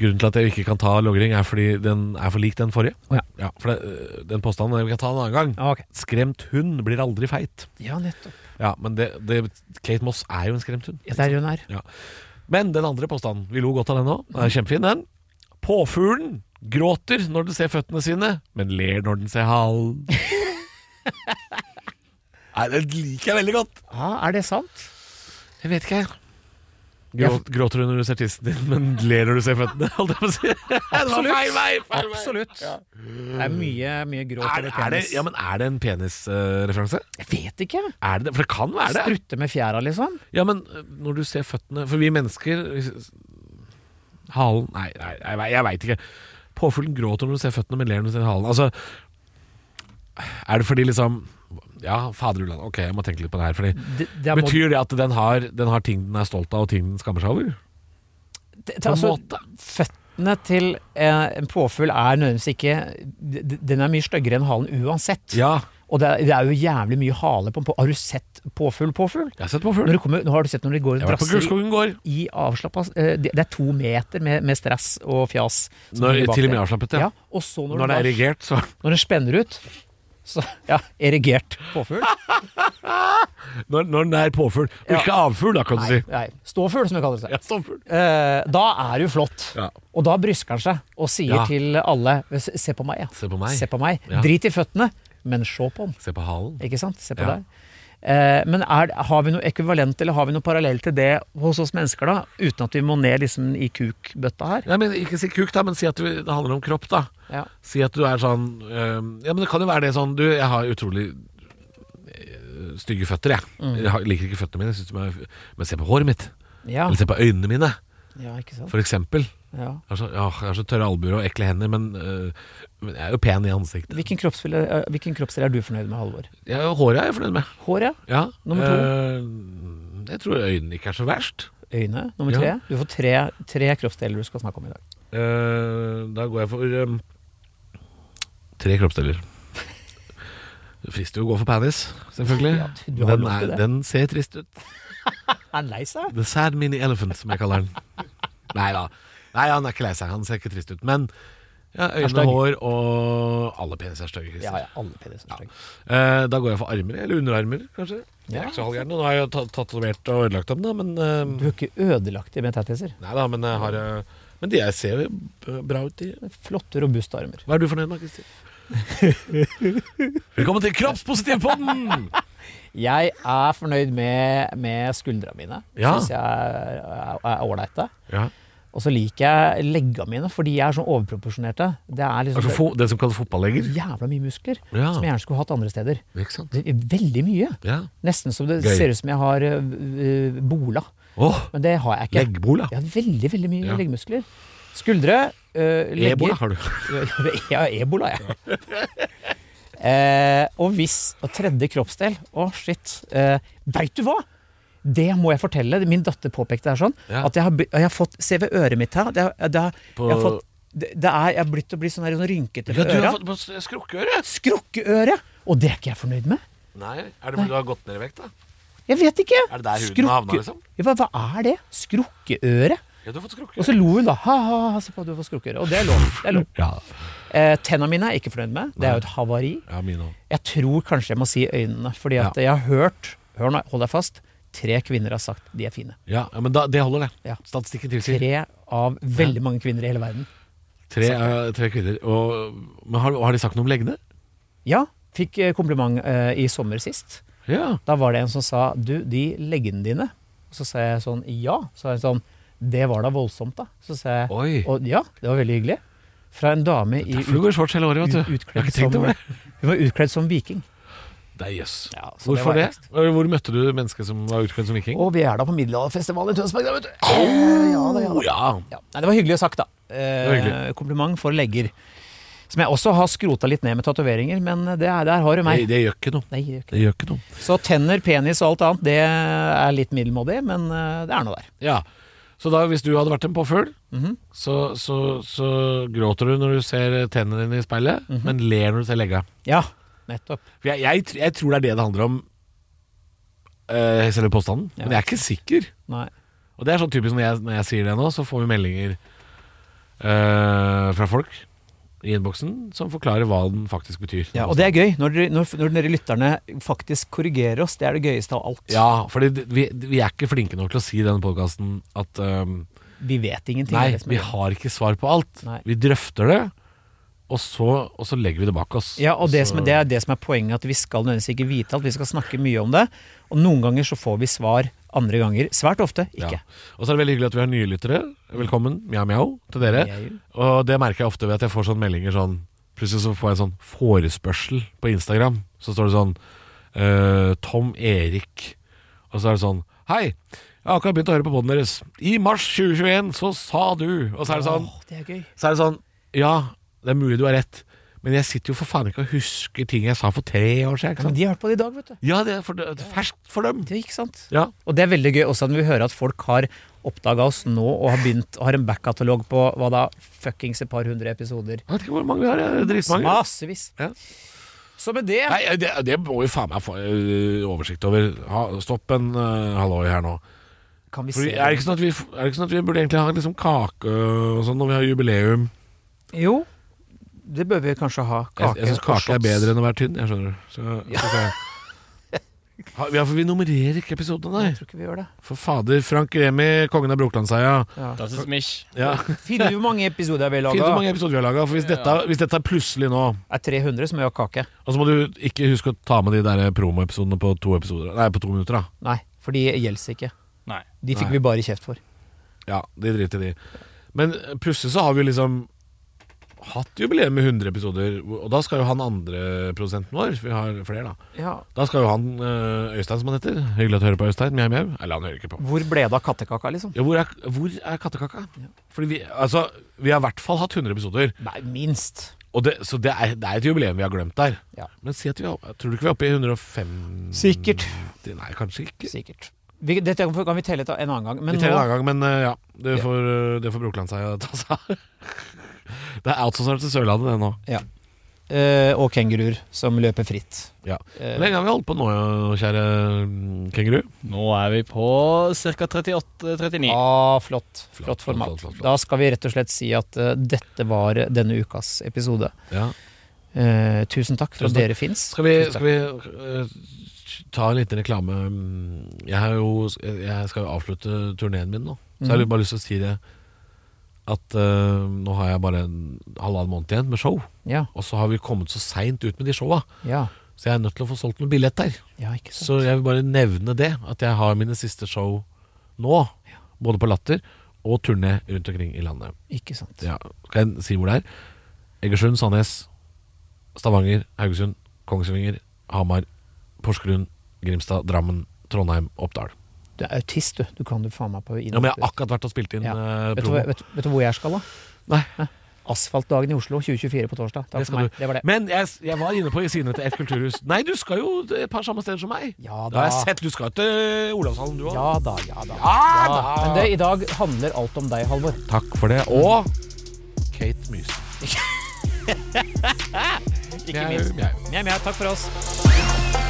[SPEAKER 2] Grunnen til at jeg ikke kan ta logring, er fordi den er for lik den forrige.
[SPEAKER 3] Å ja.
[SPEAKER 2] for det, øh, Den påstanden vi kan ta en annen gang.
[SPEAKER 3] Ah, ok.
[SPEAKER 2] Skremt hund blir aldri feit.
[SPEAKER 3] Ja, nettopp.
[SPEAKER 2] Ja, Men det, det, Kate Moss er jo en skremt hund.
[SPEAKER 3] Ja, der er hun her.
[SPEAKER 2] Men den andre påstanden, vi lo godt av den òg. Den er Kjempefin, den. Påfuglen gråter når den ser føttene sine, men ler når den ser halen. Nei, den liker jeg veldig godt.
[SPEAKER 3] Ah, er det sant?
[SPEAKER 2] Jeg vet ikke, jeg. Gråt, Gråter du når du ser tissen din, men ler når du ser føttene? Holdt jeg på å si. Det var feil vei! Feil vei.
[SPEAKER 3] Absolutt. Det er mye, mye gråt
[SPEAKER 2] Er,
[SPEAKER 3] over
[SPEAKER 2] er det,
[SPEAKER 3] penis.
[SPEAKER 2] ja, men er det en penisreferanse?
[SPEAKER 3] Jeg vet ikke.
[SPEAKER 2] Er det det? For det kan være det.
[SPEAKER 3] Strutte med fjæra, liksom.
[SPEAKER 2] Ja, men øh, når du ser føttene For vi mennesker hvis- Halen Nei, nei jeg, vei- jeg veit ikke. Påfuglen gråter når du ser føttene, men ler når du ser halen. Altså Er det fordi liksom Ja, faderullan. Ok, jeg må tenke litt på det her. Fordi,
[SPEAKER 3] Det, det er må-
[SPEAKER 2] betyr det at den har, den har ting den er stolt av, og ting den skammer seg over?
[SPEAKER 3] det- det-
[SPEAKER 2] På en
[SPEAKER 3] altså,
[SPEAKER 2] måte.
[SPEAKER 3] Føttene til eh, en påfugl er nødvendigvis ikke d- d- Den er mye styggere enn halen uansett.
[SPEAKER 2] Ja.
[SPEAKER 3] Og det er, det er jo jævlig mye hale på en på. Har du sett påfugl, påfugl?
[SPEAKER 2] Jeg har sett
[SPEAKER 3] Når
[SPEAKER 2] påfugl.
[SPEAKER 3] det kommer, nå har du sett når de går
[SPEAKER 2] Jeg
[SPEAKER 3] og
[SPEAKER 2] var på
[SPEAKER 3] drasser i,
[SPEAKER 2] Gulskogen gård.
[SPEAKER 3] i avslappa eh, Det det er to meter med, med stress og fjas. som
[SPEAKER 2] Når,
[SPEAKER 3] ligger bak
[SPEAKER 2] til og med
[SPEAKER 3] der.
[SPEAKER 2] avslappet,
[SPEAKER 3] Ja,
[SPEAKER 2] ja.
[SPEAKER 3] og så når,
[SPEAKER 2] Når
[SPEAKER 3] den
[SPEAKER 2] det er
[SPEAKER 3] bare-
[SPEAKER 2] erigert, så
[SPEAKER 3] når den spenner ut så, Ja, erigert påfugl.
[SPEAKER 2] Når, når den er påfugl. Og
[SPEAKER 3] Ja.
[SPEAKER 2] ikke avfugl, da, kan du
[SPEAKER 3] Nei,
[SPEAKER 2] si.
[SPEAKER 3] nei. Ståfugl, som det kalles.
[SPEAKER 2] Ja, ståfugl.
[SPEAKER 3] Eh, da er det jo flott.
[SPEAKER 2] Ja.
[SPEAKER 3] Og da brysker han seg og sier
[SPEAKER 2] Ja.
[SPEAKER 3] til alle Se se på meg, ja.
[SPEAKER 2] Se på meg.
[SPEAKER 3] Se på meg.
[SPEAKER 2] Ja.
[SPEAKER 3] Drit i føttene, men se på den.
[SPEAKER 2] Se på halen.
[SPEAKER 3] Ikke sant? Se på
[SPEAKER 2] Ja.
[SPEAKER 3] deg. Eh, men er, har vi noe ekvivalent eller har vi noe parallell til det hos oss mennesker, da? Uten at vi må ned liksom, i kukbøtta her?
[SPEAKER 2] Nei, men Ikke si kuk, da, men si at du, det handler om kropp, da.
[SPEAKER 3] Ja.
[SPEAKER 2] Si at du er sånn øhm, Ja, men det kan jo være det sånn Du, jeg har utrolig øh, stygge føtter, jeg. Jeg har- liker ikke føttene mine. Jeg synes de er, men se på håret mitt.
[SPEAKER 3] Ja.
[SPEAKER 2] Eller se på øynene mine,
[SPEAKER 3] ja, ikke sant?
[SPEAKER 2] for eksempel.
[SPEAKER 3] Ja.
[SPEAKER 2] Jeg har så, ja, jeg har så tørre albuer og ekle hender, men, øh, men jeg er jo pen i ansiktet.
[SPEAKER 3] Hvilken kroppsdel, eh, hvilken kroppsdel er du fornøyd med, Halvor?
[SPEAKER 2] Ja, håret er jeg fornøyd med.
[SPEAKER 3] Håret?
[SPEAKER 2] Ja.
[SPEAKER 3] Nummer to.
[SPEAKER 2] Øh, jeg tror øynene ikke er så verst.
[SPEAKER 3] Øyne? Nummer tre?
[SPEAKER 2] Ja.
[SPEAKER 3] Du får tre, tre kroppsdeler du skal snakke om i dag.
[SPEAKER 2] Øh, da går jeg for øhm, tre kroppsdeler. Det frister jo å gå for penis, selvfølgelig.
[SPEAKER 3] Ja, du har
[SPEAKER 2] den,
[SPEAKER 3] lov til det.
[SPEAKER 2] den ser trist ut.
[SPEAKER 3] Er han lei seg?
[SPEAKER 2] The Sad Mini Elephant, som jeg kaller den. Nei da. Nei, han er ikke lei seg. Han ser ikke trist ut. Men ja,
[SPEAKER 3] Er
[SPEAKER 2] øyne,
[SPEAKER 3] stygg.
[SPEAKER 2] hår og alle peniser er stygge.
[SPEAKER 3] Ja,
[SPEAKER 2] Christer.
[SPEAKER 3] ja. Alle peniser er stygge.
[SPEAKER 2] Eh, da går jeg for armer, eller underarmer, kanskje. Jeg
[SPEAKER 3] Ja.
[SPEAKER 2] er ikke så halvgæren. Nå har jeg jo ta- tatovert og ødelagt dem, da, men
[SPEAKER 3] Du
[SPEAKER 2] eh,
[SPEAKER 3] er ikke ødelagt i med tattiser.
[SPEAKER 2] Nei da, men jeg har eh, Men de jeg ser jo b- bra ut, de.
[SPEAKER 3] Flotte, robuste armer.
[SPEAKER 2] Hva er du fornøyd med, Kristin? Velkommen til Kroppspositivpodden!
[SPEAKER 3] Jeg er fornøyd med, med skuldra mine.
[SPEAKER 2] Ja.
[SPEAKER 3] Syns jeg er- er er ålreite.
[SPEAKER 2] Ja.
[SPEAKER 3] Og så liker jeg legga mine, for de er sånn overproporsjonerte. Det er liksom
[SPEAKER 2] Altså, fo- det som kalles fotballegger.
[SPEAKER 3] jævla mye muskler
[SPEAKER 2] Ja.
[SPEAKER 3] som jeg gjerne skulle hatt andre steder.
[SPEAKER 2] Ikke sant?
[SPEAKER 3] Det er veldig mye.
[SPEAKER 2] Ja.
[SPEAKER 3] Nesten som det
[SPEAKER 2] Gøy.
[SPEAKER 3] ser ut som jeg har øh, øh, bola.
[SPEAKER 2] Åh,
[SPEAKER 3] Men det har jeg ikke.
[SPEAKER 2] leggbola.
[SPEAKER 3] Jeg har veldig, veldig mye
[SPEAKER 2] Ja.
[SPEAKER 3] leggmuskler. Skuldre, øh, legger
[SPEAKER 2] Ebola har du.
[SPEAKER 3] Jeg har ebola, jeg. Eh, og hvis Og tredje kroppsdel. Å, shit. Eh, Veit du hva? Det må jeg fortelle. Min datter påpekte det her sånn.
[SPEAKER 2] Ja.
[SPEAKER 3] At jeg har, be- jeg har fått Se ved øret mitt her. Det, har- det, har- jeg
[SPEAKER 2] På-
[SPEAKER 3] har fått, det, det er, jeg har blitt å bli sånn, her, sånn rynkete
[SPEAKER 2] Ja,
[SPEAKER 3] ved
[SPEAKER 2] du har
[SPEAKER 3] øra.
[SPEAKER 2] fått på s- skrukkeøre!
[SPEAKER 3] Skrukkeøre! Og det er ikke jeg fornøyd med.
[SPEAKER 2] Nei, er det fordi du har gått ned i vekt, da?
[SPEAKER 3] Jeg vet ikke.
[SPEAKER 2] Er det der huden har havnet, liksom?
[SPEAKER 3] Ja, Hva, hva er det? Skrukkeøre?
[SPEAKER 2] Ja, du har fått
[SPEAKER 3] Og
[SPEAKER 2] skrukkeøre.
[SPEAKER 3] så lo hun, da. Ha, ha, ha, se på, du har fått skrukkeøre. Og det er lov. Det er lov.
[SPEAKER 2] Ja,
[SPEAKER 3] Eh, Tenna mine er jeg ikke fornøyd med. Det er jo et havari.
[SPEAKER 2] ja mine òg.
[SPEAKER 3] Jeg tror kanskje jeg må si øynene, fordi at jeg har hørt Hør nå, hold deg fast. Tre kvinner har sagt de er fine.
[SPEAKER 2] Ja, ja, men da, det holder, det.
[SPEAKER 3] Ja.
[SPEAKER 2] Statistikken tilsier
[SPEAKER 3] Tre av veldig mange kvinner i hele verden.
[SPEAKER 2] tre, eh, tre kvinner. Og, men har, har de sagt noe om leggene?
[SPEAKER 3] Ja, fikk eh, kompliment eh, i sommer sist.
[SPEAKER 2] Ja.
[SPEAKER 3] Da var det en som sa 'du, de leggene dine'. Og så sa jeg sånn 'ja'. Så var hun sånn 'det var da voldsomt', da. Så sa jeg
[SPEAKER 2] Oi.
[SPEAKER 3] og, 'ja, det var veldig hyggelig'. Fra en dame i
[SPEAKER 2] Derfor du går i shorts hele året, vet
[SPEAKER 3] ut,
[SPEAKER 2] du. Jeg har
[SPEAKER 3] utkledd
[SPEAKER 2] ikke tenkt
[SPEAKER 3] som
[SPEAKER 2] over det.
[SPEAKER 3] Hun var utkledd som viking.
[SPEAKER 2] Nei, jøss.
[SPEAKER 3] Ja, så det
[SPEAKER 2] Hvorfor
[SPEAKER 3] var
[SPEAKER 2] det?
[SPEAKER 3] ekst.
[SPEAKER 2] Hvor møtte du mennesket som var utkledd som viking?
[SPEAKER 3] Og vi er da på Middelalderfestivalen i Tønsberg, da, vet du. Ja, da, ja, da.
[SPEAKER 2] Å, ja.
[SPEAKER 3] Ja. Nei, det var hyggelig sagt, da. Eh,
[SPEAKER 2] var hyggelig.
[SPEAKER 3] kompliment for legger. Som jeg også har skrota litt ned med tatoveringer, men det er, der har du
[SPEAKER 2] Nei,
[SPEAKER 3] meg.
[SPEAKER 2] det gjør ikke noe.
[SPEAKER 3] Nei, det gjør ikke det.
[SPEAKER 2] Det gjør ikke noe.
[SPEAKER 3] Så tenner, penis og alt annet, det er litt middelmådig, men eh, det er noe der.
[SPEAKER 2] Ja. Så da, hvis du hadde vært en påfugl,
[SPEAKER 3] Mhm.
[SPEAKER 2] så, så, så gråter du når du ser tennene dine i speilet,
[SPEAKER 3] Mhm.
[SPEAKER 2] men ler når du ser legga.
[SPEAKER 3] Ja, nettopp.
[SPEAKER 2] For jeg, jeg, tr- jeg tror det er det det handler om, eh, selve påstanden.
[SPEAKER 3] Ja.
[SPEAKER 2] Men jeg er ikke sikker.
[SPEAKER 3] Nei.
[SPEAKER 2] Og det er sånn typisk når jeg, når jeg sier det nå, så får vi meldinger eh, fra folk i innboksen som forklarer hva den faktisk betyr.
[SPEAKER 3] Ja, og det er gøy, når dere, når, når dere lytterne faktisk korrigerer oss. Det er det gøyeste av alt.
[SPEAKER 2] Ja, for vi, vi er ikke flinke nok til å si i denne podkasten at eh,
[SPEAKER 3] Vi vet ingenting.
[SPEAKER 2] Nei,
[SPEAKER 3] det er det som er
[SPEAKER 2] vi
[SPEAKER 3] gøy.
[SPEAKER 2] har ikke svar på alt.
[SPEAKER 3] Nei.
[SPEAKER 2] Vi drøfter det, og så, og så legger vi det bak oss.
[SPEAKER 3] Ja, og det,
[SPEAKER 2] Så-
[SPEAKER 3] som er, det er det som er poenget, at vi skal nødvendigvis ikke vite alt. Vi skal snakke mye om det. Og noen ganger så får vi svar, andre ganger svært ofte
[SPEAKER 2] Ja.
[SPEAKER 3] ikke.
[SPEAKER 2] Og så er det veldig hyggelig at vi har nye lyttere. Velkommen, mjau mjau, til dere.
[SPEAKER 3] Mjau.
[SPEAKER 2] Og det merker jeg ofte ved at jeg får sånne meldinger sånn Plutselig så får jeg en sånn forespørsel på Instagram. Så står det sånn eh, Tom Erik. Og så er det sånn Hei! Jeg har akkurat begynt å høre på podden deres. I mars 2021 så sa du Og så er det sånn
[SPEAKER 3] Åh, det er gøy.
[SPEAKER 2] Så er det sånn Ja, det er mulig du har rett, men jeg sitter jo for faen ikke og husker ting jeg sa for tre år siden. Ikke
[SPEAKER 3] Men
[SPEAKER 2] sant?
[SPEAKER 3] de har hørt på det i dag, vet du.
[SPEAKER 2] Ja, det er for, det er ferskt for dem.
[SPEAKER 3] Det, ikke sant?
[SPEAKER 2] Ja.
[SPEAKER 3] Og det er veldig gøy også når vi hører at folk har oppdaga oss nå og har begynt og har en backkatalog på hva da fuckings et par hundre episoder.
[SPEAKER 2] Jeg vet ikke hvor mange vi har. jeg. Dritmange.
[SPEAKER 3] Massevis.
[SPEAKER 2] Ja.
[SPEAKER 3] Så med det
[SPEAKER 2] Nei, eh, det, det må vi faen meg få øh, oversikt over. Ha, stopp en øh, halloi her nå.
[SPEAKER 3] kan vi
[SPEAKER 2] For
[SPEAKER 3] se
[SPEAKER 2] er, det ikke sånn at vi, f- er det ikke sånn at vi burde egentlig ha liksom kake og sånn når vi har jubileum?
[SPEAKER 3] Jo, det bør vi kanskje ha.
[SPEAKER 2] Jeg, jeg syns
[SPEAKER 3] og
[SPEAKER 2] kake er
[SPEAKER 3] shots.
[SPEAKER 2] bedre enn å være tynn. Jeg skjønner så, så, skal jeg- Ha- ja, for vi nummererer ikke episodene,
[SPEAKER 3] Jeg
[SPEAKER 2] nei.
[SPEAKER 3] tror ikke vi gjør det.
[SPEAKER 2] For fader, Frank Remi, kongen av Brokelandseia.
[SPEAKER 3] Ja.
[SPEAKER 1] Das
[SPEAKER 2] Mm.
[SPEAKER 1] ist mich.
[SPEAKER 2] Ja.
[SPEAKER 3] Finner du hvor mange episoder vi
[SPEAKER 2] Fint hvor
[SPEAKER 3] laga?
[SPEAKER 2] mange episoder vi har laga. For hvis,
[SPEAKER 1] Ja.
[SPEAKER 2] dette, hvis dette er plutselig nå
[SPEAKER 3] Er 300, så må vi ha kake.
[SPEAKER 2] Og så må du ikke huske å ta med de der eh, promoepisodene på to episoder Nei, på to minutter, da.
[SPEAKER 3] Nei, for de gjelder ikke.
[SPEAKER 1] Nei.
[SPEAKER 3] De fikk
[SPEAKER 2] Nei.
[SPEAKER 3] vi bare kjeft for.
[SPEAKER 2] Ja, de driter i de. Men eh, plutselig så har vi jo liksom hatt jubileum med 100 episoder, og da skal jo han andre produsenten vår Vi har flere, da.
[SPEAKER 3] Ja.
[SPEAKER 2] Da skal jo han øh, Øystein, som han heter Hyggelig at du hører på, Øystein. Mjau, mjau. Eller han hører ikke på.
[SPEAKER 3] Hvor ble det av kattekaka, liksom?
[SPEAKER 2] Ja, hvor er, hvor er kattekaka? Fordi vi, altså, vi har i hvert fall hatt 100 episoder,
[SPEAKER 3] Nei, minst.
[SPEAKER 2] og det, så det er, det er et jubileum vi har glemt der.
[SPEAKER 3] Ja.
[SPEAKER 2] Men si at vi, er- tror du ikke vi er oppe i 150
[SPEAKER 3] Sikkert.
[SPEAKER 2] Nei, kanskje ikke.
[SPEAKER 3] Mm, Sikkert. Vi, dette kan vi telle et- en annen gang. Men
[SPEAKER 2] Vi teller en annen
[SPEAKER 3] nå,
[SPEAKER 2] gang, men eh, ja. Det
[SPEAKER 3] Ja.
[SPEAKER 2] får, eh, det får Brokeland seg å ta seg av. Det er outsourcet til Sørlandet, det nå.
[SPEAKER 3] eh, og kenguruer som løper fritt.
[SPEAKER 2] Ja.
[SPEAKER 3] Eh,
[SPEAKER 2] Hvor lenge har vi holdt på nå, kjære mm, kenguru?
[SPEAKER 1] Nå er vi på ca. 38-39.
[SPEAKER 3] ah, flott.
[SPEAKER 2] Flott,
[SPEAKER 3] Flott format.
[SPEAKER 2] flott, flott, flott.
[SPEAKER 3] Da skal vi rett og slett si at eh, dette var denne ukas episode.
[SPEAKER 2] Ja.
[SPEAKER 3] Eh, tusen takk for
[SPEAKER 2] Tusen takk.
[SPEAKER 3] at dere fins.
[SPEAKER 2] Skal vi, skal vi eh, ta en liten reklame? Mm, Jeg, har jo, jeg skal jo avslutte turneen min nå, så
[SPEAKER 3] Mhm.
[SPEAKER 2] jeg har bare lyst til å si det. At eh, nå har jeg bare en halvannen måned igjen med show,
[SPEAKER 3] Ja,
[SPEAKER 2] og så har vi kommet så seint ut med de showa,
[SPEAKER 3] ja,
[SPEAKER 2] så jeg er nødt til å få solgt noen billetter.
[SPEAKER 3] ja, ikke sant.
[SPEAKER 2] Så jeg vil bare nevne det, at jeg har mine siste show nå. Både på Latter og turné rundt omkring i landet.
[SPEAKER 3] Ikke sant.
[SPEAKER 2] Ja, skal jeg si hvor det er? Egersund, Sandnes, Stavanger, Haugesund, Kongsvinger, Hamar, Porsgrunn, Grimstad, Drammen, Trondheim, Oppdal.
[SPEAKER 3] Du er autist, du. Du kan du faen meg på inn-
[SPEAKER 2] Ja, men jeg har akkurat vært og spilt inn
[SPEAKER 3] Ja.
[SPEAKER 2] eh,
[SPEAKER 3] vet, du,
[SPEAKER 2] promo.
[SPEAKER 3] hva- vet, vet du hvor jeg skal, da?
[SPEAKER 2] Nei.
[SPEAKER 3] Asfaltdagen i Oslo 2024 på torsdag. Takk
[SPEAKER 2] Det
[SPEAKER 3] for
[SPEAKER 2] skal
[SPEAKER 3] meg.
[SPEAKER 2] du.
[SPEAKER 3] Det var det.
[SPEAKER 2] Men jeg, jeg var inne på sidene til ett kulturhus. Nei, du skal jo et par samme steder som meg.
[SPEAKER 3] Ja
[SPEAKER 2] Da har
[SPEAKER 3] da.
[SPEAKER 2] jeg sett. Du skal til Olavshallen, du òg.
[SPEAKER 3] Ja da, ja da.
[SPEAKER 2] da.
[SPEAKER 3] Men det, i dag handler alt om deg, Halvor.
[SPEAKER 2] Takk for det. Og Kate Mysen.
[SPEAKER 3] Ikke
[SPEAKER 2] Mjau,
[SPEAKER 3] minst.
[SPEAKER 2] mjau.
[SPEAKER 3] Mjau, mjau. Takk for oss.